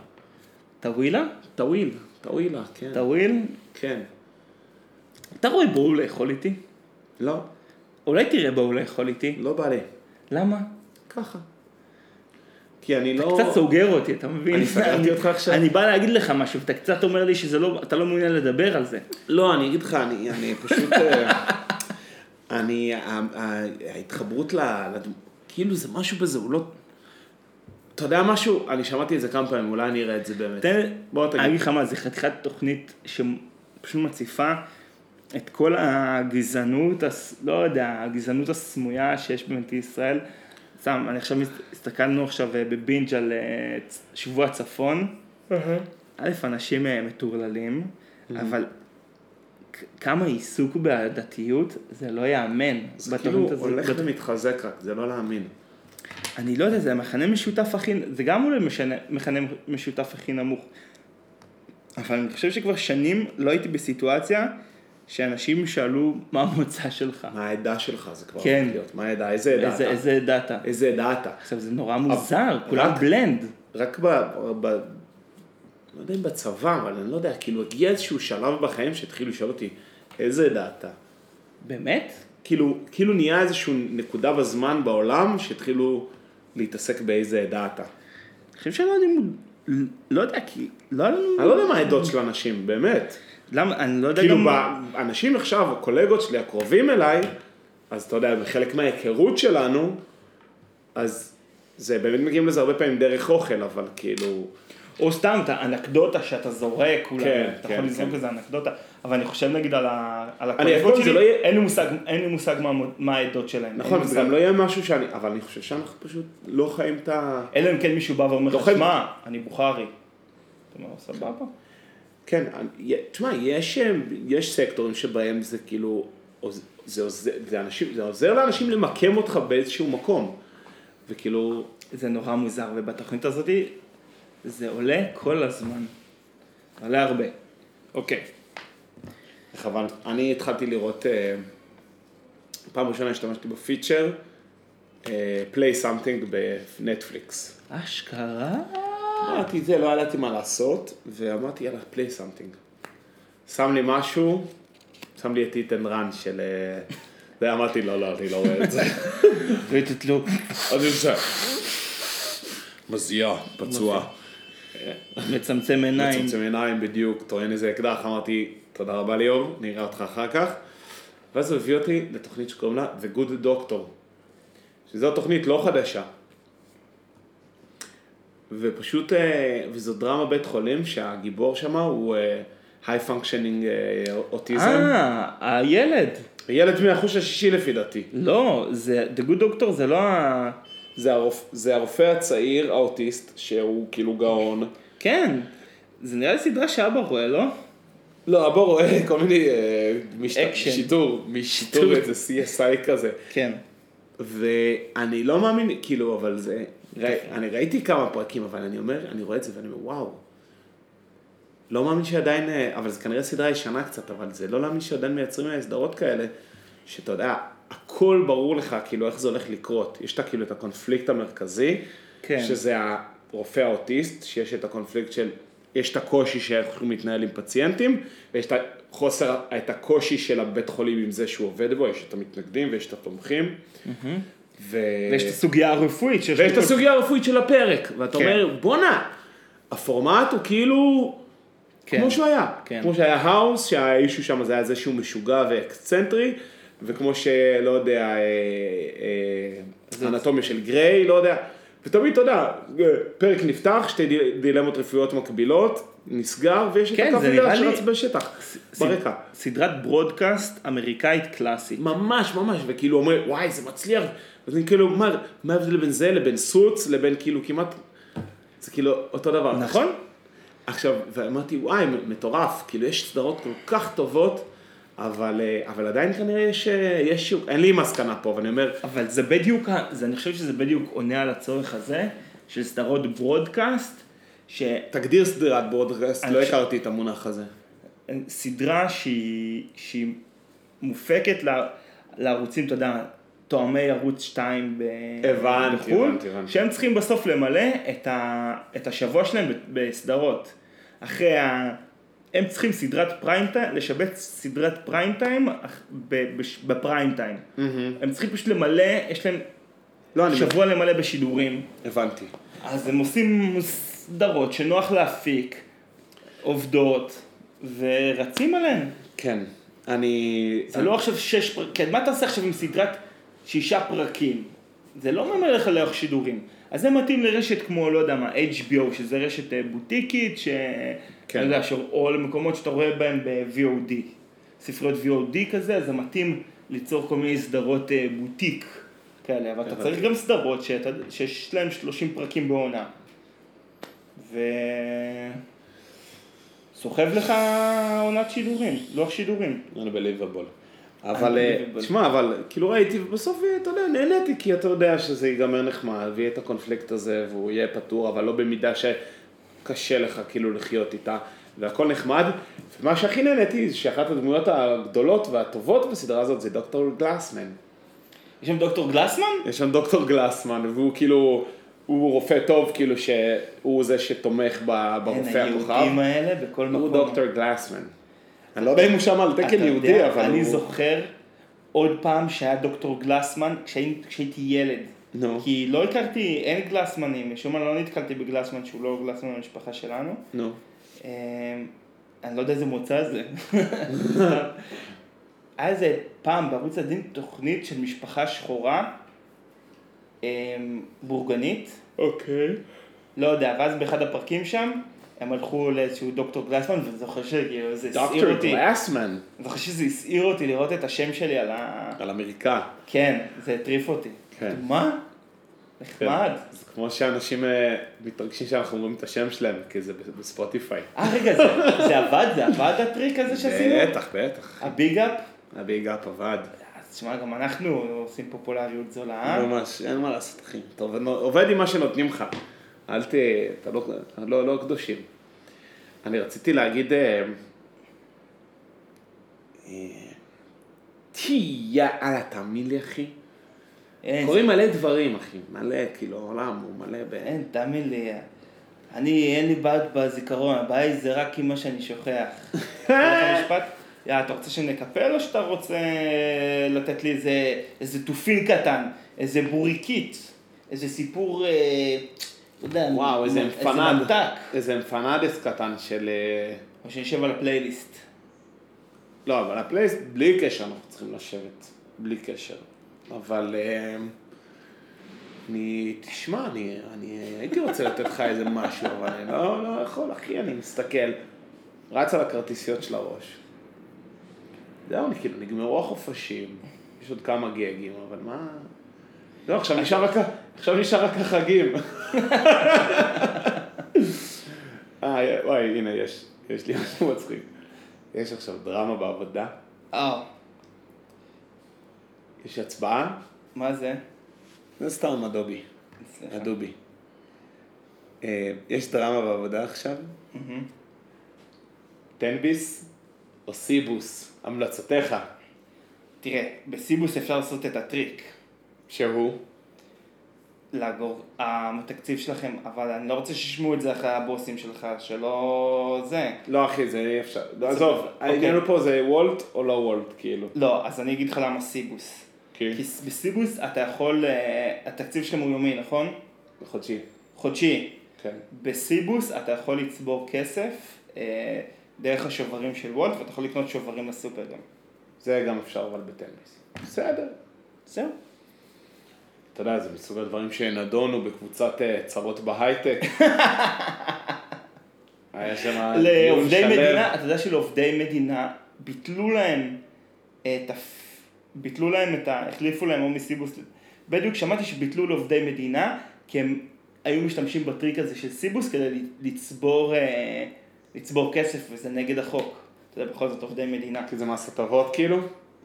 טווילה? טאוויל, טאווילה, כן. טוויל? כן. אתה רואה בו הוא לאכול איתי? לא, אולי תראה בו הוא לאכול איתי. לא בא לי. למה? ככה. כי אני לא... קצת סוגר אותי, אתה מבין? אני סגרתי אותך עכשיו. אני בא להגיד לך משהו, ואתה קצת אומר לי שזה לא, אתה לא מעוניין לדבר על זה. לא, אני אגיד לך, אני, אני פשוט... אה, אני... ה- ה- ההתחברות ל... לדמ- כאילו זה משהו בזה, הוא לא... אתה יודע משהו? אני שמעתי את זה כמה פעמים, אולי אני אראה את זה באמת. תן, בוא תגיד. אני אגיד לך מה, זה חתיכת תוכנית שפשוט מציפה את כל הגזענות, הס- לא יודע, הגזענות הסמויה שיש במדינת ישראל. סתם, אני עכשיו, מס- הסתכלנו עכשיו אה, בבינג' על אה, צ- שבוע הצפון. א', אנשים אה, מטורללים, אבל כ- כמה עיסוק בעדתיות, זה לא ייאמן. זה כאילו בתוכנית הזאת. הולך בת- ומתחזק רק, זה לא להאמין. אני לא יודע, זה המכנה משותף הכי, זה גם אולי משנה, מכנה משותף הכי נמוך. אבל אני חושב שכבר שנים לא הייתי בסיטואציה שאנשים שאלו מה המוצא שלך. מה העדה שלך זה כבר... כן. הולך להיות. מה העדה? איזה עדה אתה? איזה, איזה עדה אתה. איזה עדה אתה? עכשיו זה נורא מוזר, כולם רק- בלנד. רק ב... ב... לא יודע אם בצבא, אבל אני לא יודע, כאילו הגיע איזשהו שלב בחיים שהתחילו לשאול אותי, איזה עדה אתה? באמת? כאילו, כאילו נהיה איזושהי נקודה בזמן בעולם שהתחילו להתעסק באיזה עדה אתה. חושב שלא אני... מוד- לא יודע, כי לא היה לנו... אני לא יודע מה העדות של אנשים, באמת. למה, אני לא יודע כאילו, גם... ב- אנשים עכשיו, הקולגות שלי הקרובים אליי, אז אתה יודע, בחלק מההיכרות שלנו, אז זה באמת מגיעים לזה הרבה פעמים דרך אוכל, אבל כאילו... או סתם את האנקדוטה שאתה זורק, אולי, כן, אתה כן, יכול לזרוק כן. איזה אנקדוטה, אבל אני חושב נגיד על ה- על אני אף הקולגות פעם זה שלי, לא יהיה- אין לי מושג- אין לי מושג מה מו- מה העדות שלהם. אין נכון, לי זה מושג. גם לא יהיה משהו שאני... אבל אני חושב שאנחנו פשוט לא חיים את ה... אלא אם כן מישהו בא ואומר לא חייב- לך, שמע, אני בוכרי. אתה אומר, סבבה. כן, אני- תשמע, יש, אמ, יש סקטורים שבהם זה כאילו, עוז- זה עוזר, זה, אנשים, זה עוזר לאנשים למקם אותך באיזשהו מקום. וכאילו, זה נורא מוזר, ובתוכנית הזאת זה עולה כל הזמן. עולה הרבה. אוקיי. חבל. אני התחלתי לראות, אה, פעם ראשונה השתמשתי בפיצ'ר, אה, play something בנטפליקס. אשכרה? אמרתי זה, לא ידעתי מה לעשות, ואמרתי יאללה, play something. שם לי משהו, שם לי את איתן רן של... אה, זה, אמרתי לא, לא, אני לא רואה את זה. ותתלו. אז היא עושה. מזיע, פצוע. מצמצם עיניים. מצמצם עיניים בדיוק, טוען איזה אקדח, אמרתי, תודה רבה ליאור, נראה אותך אחר כך. ואז הוא הביא אותי לתוכנית שקוראים לה The Good Doctor, שזו תוכנית לא חדשה. ופשוט, אה, וזו דרמה בית חולים שהגיבור שם הוא אה, היי פונקשנינג אוטיזם. אה, הילד. ילד מהחוש השישי לפי דעתי. לא, זה, The Good Doctor זה לא ה... זה הרופ- זה הרופא הצעיר האוטיסט, שהוא כאילו גאון. כן. זה נראה לי סדרה שאבא רואה, לא? לא, אבא רואה כל מיני אה, משת- אקשן. שיטור, משיטור איזה CSI כזה. כן. ואני לא מאמין, כאילו, אבל זה... ראי- אני ראיתי כמה פרקים, אבל אני אומר, אני רואה את זה ואני אומר, וואו. לא מאמין שעדיין, אה, אבל זה כנראה סדרה ישנה קצת, אבל זה לא להאמין שעדיין מייצרים אה, סדרות כאלה, שאתה יודע, הכל ברור לך, כאילו, איך זה הולך לקרות. יש את ה- כאילו את הקונפליקט המרכזי, כן. שזה הרופא האוטיסט, שיש את הקונפליקט של, יש את הקושי שאיך הוא מתנהל עם פציינטים, ויש את החוסר, את הקושי של הבית חולים עם זה שהוא עובד בו, יש את המתנגדים ויש את התומכים. ו... ויש את הסוגיה הרפואית שיש ויש את לכל- הסוגיה הרפואית של הפרק, ואתה כן. אומר, בואנה, הפורמט הוא כאילו, כן. כמו שהוא היה, כן. כמו שהיה האוס, שהאישו שם זה היה זה שהוא משוגע ואקצנטרי, וכמו שלא יודע, אה, אה, אנטומיה של גריי, לא יודע, ותמיד, אתה יודע, אה, פרק נפתח, שתי דיל- דילמות רפואיות מקבילות, נסגר, ויש את כן, הקו זה נראה מילה לי- שרץ בשטח, ס- ברקע. סדרת ברודקאסט אמריקאית קלאסית. ממש ממש, וכאילו אומר, וואי, זה מצליח. אז אני כאילו, מה, מה ההבדל בין זה לבין סוץ, לבין כאילו כמעט, זה כאילו אותו דבר. נכון. עכשיו, ואמרתי, וואי, מטורף, כאילו יש סדרות כל כך טובות, אבל, אה, אבל עדיין כנראה יש, אה, יש, שוק. אין לי מסקנה פה, ואני אומר, אבל זה בדיוק, ה- זה, אני חושב שזה בדיוק עונה על הצורך הזה, של סדרות ברודקאסט, תגדיר סדרת ברודקאסט, אני לא חושב- הכרתי את המונח הזה. שסדרה שהיא, שהיא מופקת ל, לערוצים, אתה יודע, תואמי ערוץ 2 ב... הבנתי, בחו"ל, הבנתי, הבנתי. שהם צריכים בסוף למלא את, ה, את השבוע שלהם ב- בסדרות. אחרי ה... הם צריכים סדרת פריים טיים, לשבץ סדרת פריים טיים אח- ב- בש- בפריים טיים. הם צריכים פשוט למלא, יש להם לא, אני שבוע למלא בשידורים. הבנתי. אז הם עושים סדרות שנוח להפיק, עובדות, ורצים עליהן. כן, אני... זה לא עכשיו שש פרקים, מה אתה עושה עכשיו עם סדרת שישה פרקים? זה לא ממלא לך לאורך שידורים. אז זה מתאים לרשת כמו, לא יודע מה, HBO, שזה רשת אה, בוטיקית, ש... כן. כן. יודע, ש... או למקומות שאתה רואה בהם ב-VOD. ספריות VOD כזה, אז זה מתאים ליצור כל מיני סדרות אה, בוטיק כאלה, אבל אתה הבנתי. צריך גם סדרות שאתה... שיש להן 30 פרקים בעונה. ו... סוחב לך עונת שידורים, לוח שידורים. Unbelievable. אבל, אה, Unbelievable. תשמע, אבל כאילו ראיתי, ובסוף, אה, אתה יודע, נהניתי, כי אתה יודע שזה ייגמר נחמד, ויהיה את הקונפליקט הזה, והוא יהיה פתור, אבל לא במידה שקשה לך כאילו לחיות איתה, והכל נחמד. ומה שהכי נהניתי, זה שאחת הדמויות הגדולות והטובות בסדרה הזאת זה דוקטור גלסמן. יש שם דוקטור גלסמן? יש שם דוקטור גלסמן, והוא כאילו, הוא רופא טוב, כאילו, שהוא זה שתומך ב- ברופא הכוכב. היהודים האלה בכל מקום. הוא דוקטור גלסמן. אני לא יודע אם הוא שם על אתה תקן יודע, יהודי, אבל הוא... אני זוכר עוד פעם שהיה דוקטור גלסמן כשהי- כשהייתי ילד. נו, כי לא הכרתי, אין גלסמנים, משום מה לא נתקלתי בגלסמן שהוא לא גלסמן במשפחה שלנו. נו. אמ, אני לא יודע איזה מוצא זה. היה איזה פעם בערוץ הדין תוכנית של משפחה שחורה, אמ, בורגנית, אוקיי. לא יודע, ואז באחד הפרקים שם, הם הלכו לאיזשהו דוקטור גלסמן, ואני זוכר שכאילו זה הסעיר דוקטור אותי, גלסמן, אני זוכר שזה הסעיר אותי לראות את השם שלי על ה... על אמריקה. כן, זה הטריף אותי. כן. מה? נחמד. זה כמו שאנשים אה, מתרגשים שאנחנו אומרים את השם שלהם, כי זה בספוטיפיי. אה, רגע, זה- זה עבד? זה עבד הטריק הזה שעשינו? בטח, בטח. הביג אפ? אה, הביג אפ עבד. אז תשמע, גם אנחנו עושים פופולריות זולה, אה? ממש, אין מה לעשות, אחי. אתה עובד- עובד עם מה שנותנים לך. אל ת... אתה לא, לא, לא קדושים. אני רציתי להגיד... אה, אה, תהי, יאללה, תאמין לי, אחי. אין, קורים מלא דברים, אחי. מלא, כאילו, העולם הוא מלא ב... אין, תאמין לי. אני, אין לי בעיות בזיכרון, הבעיה היא זה רק עם מה שאני שוכח. אתה משפט? יא, אתה רוצה שנקפל או שאתה רוצה לתת לי איזה, איזה תופין קטן, איזה בוריקית, איזה סיפור, אה, לא יודע, וואו, איזה איזה אמפנד. ממתק, איזה אמפנדס קטן של... אה, או שנשב על הפלייליסט. לא, אבל הפלייסט, בלי קשר אנחנו צריכים לשבת. בלי קשר. אבל... אה, אני, תשמע, אני, אני הייתי רוצה לתת לך איזה משהו, אבל אני לא, לא יכול, אחי, אני מסתכל, רץ על הכרטיסיות של הראש. זהו, אני כאילו, נגמרו החופשים, יש עוד כמה גגים, אבל מה... לא, עכשיו נשאר רק, ה- עכשיו נשאר רק החגים. אה, וואי, הנה, יש, יש לי משהו מצחיק. יש עכשיו דרמה בעבודה, אה, יש הצבעה, מה זה? זה סתם אדובי. סליחה. אדובי. אה, יש דרמה בעבודה עכשיו? מהמם. תן ביס או סיבוס? המלצותיך. תראה, בסיבוס אפשר לעשות את הטריק. שהוא? לאגור אה, התקציב שלכם, אבל אני לא רוצה שישמעו את זה אחרי הבוסים שלך, שלא זה. לא אחי, זה אי אפשר. לא, עזוב, אוקיי. העניין הוא פה זה וולט או לא וולט, כאילו. לא, אז אני אגיד לך למה סיבוס. כן. כי ס- בסיבוס אתה יכול, אה, התקציב שלכם הוא יומי, נכון? חודשי. חודשי. כן. בסיבוס אתה יכול לצבור כסף אה, דרך השוברים של וולט, ואתה יכול לקנות שוברים לסופר גם. זה גם אפשר אבל בתן ביס. בסדר. זהו. אתה יודע, זה מסוג הדברים שנדונו בקבוצת אה, צרות בהייטק. היה שם דיון לעובדי שלם. מדינה, אתה יודע שלעובדי מדינה ביטלו להם אה, את ה... ביטלו להם את ה... החליפו להם או מסיבוס. בדיוק שמעתי שביטלו לעובדי מדינה, כי הם היו משתמשים בטריק הזה של סיבוס כדי לצבור, אה, לצבור כסף, וזה נגד החוק. אתה יודע, בכל זאת עובדי מדינה. כי זה מס הטבות כאילו?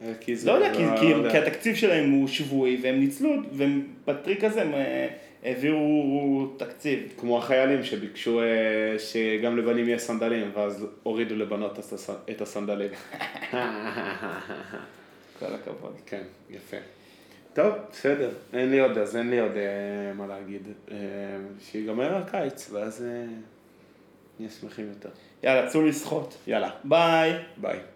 אה, כי זה- לא יודע, כי, כי, לא יודע. כי התקציב שלהם הוא שבועי, והם ניצלו, ובטריק הזה הם אה, העבירו תקציב. כמו החיילים שביקשו אה, שגם לבנים יהיה סנדלים, ואז הורידו לבנות את הס- את הסנדלים. כל הכבוד. כן, יפה. טוב, בסדר, אין לי עוד, אז אין לי עוד אה, מה להגיד. אה, שיגמר הקיץ, ואז אה, נהיה שמחים יותר. יאללה, צאו לשחות. יאללה, ביי. ביי.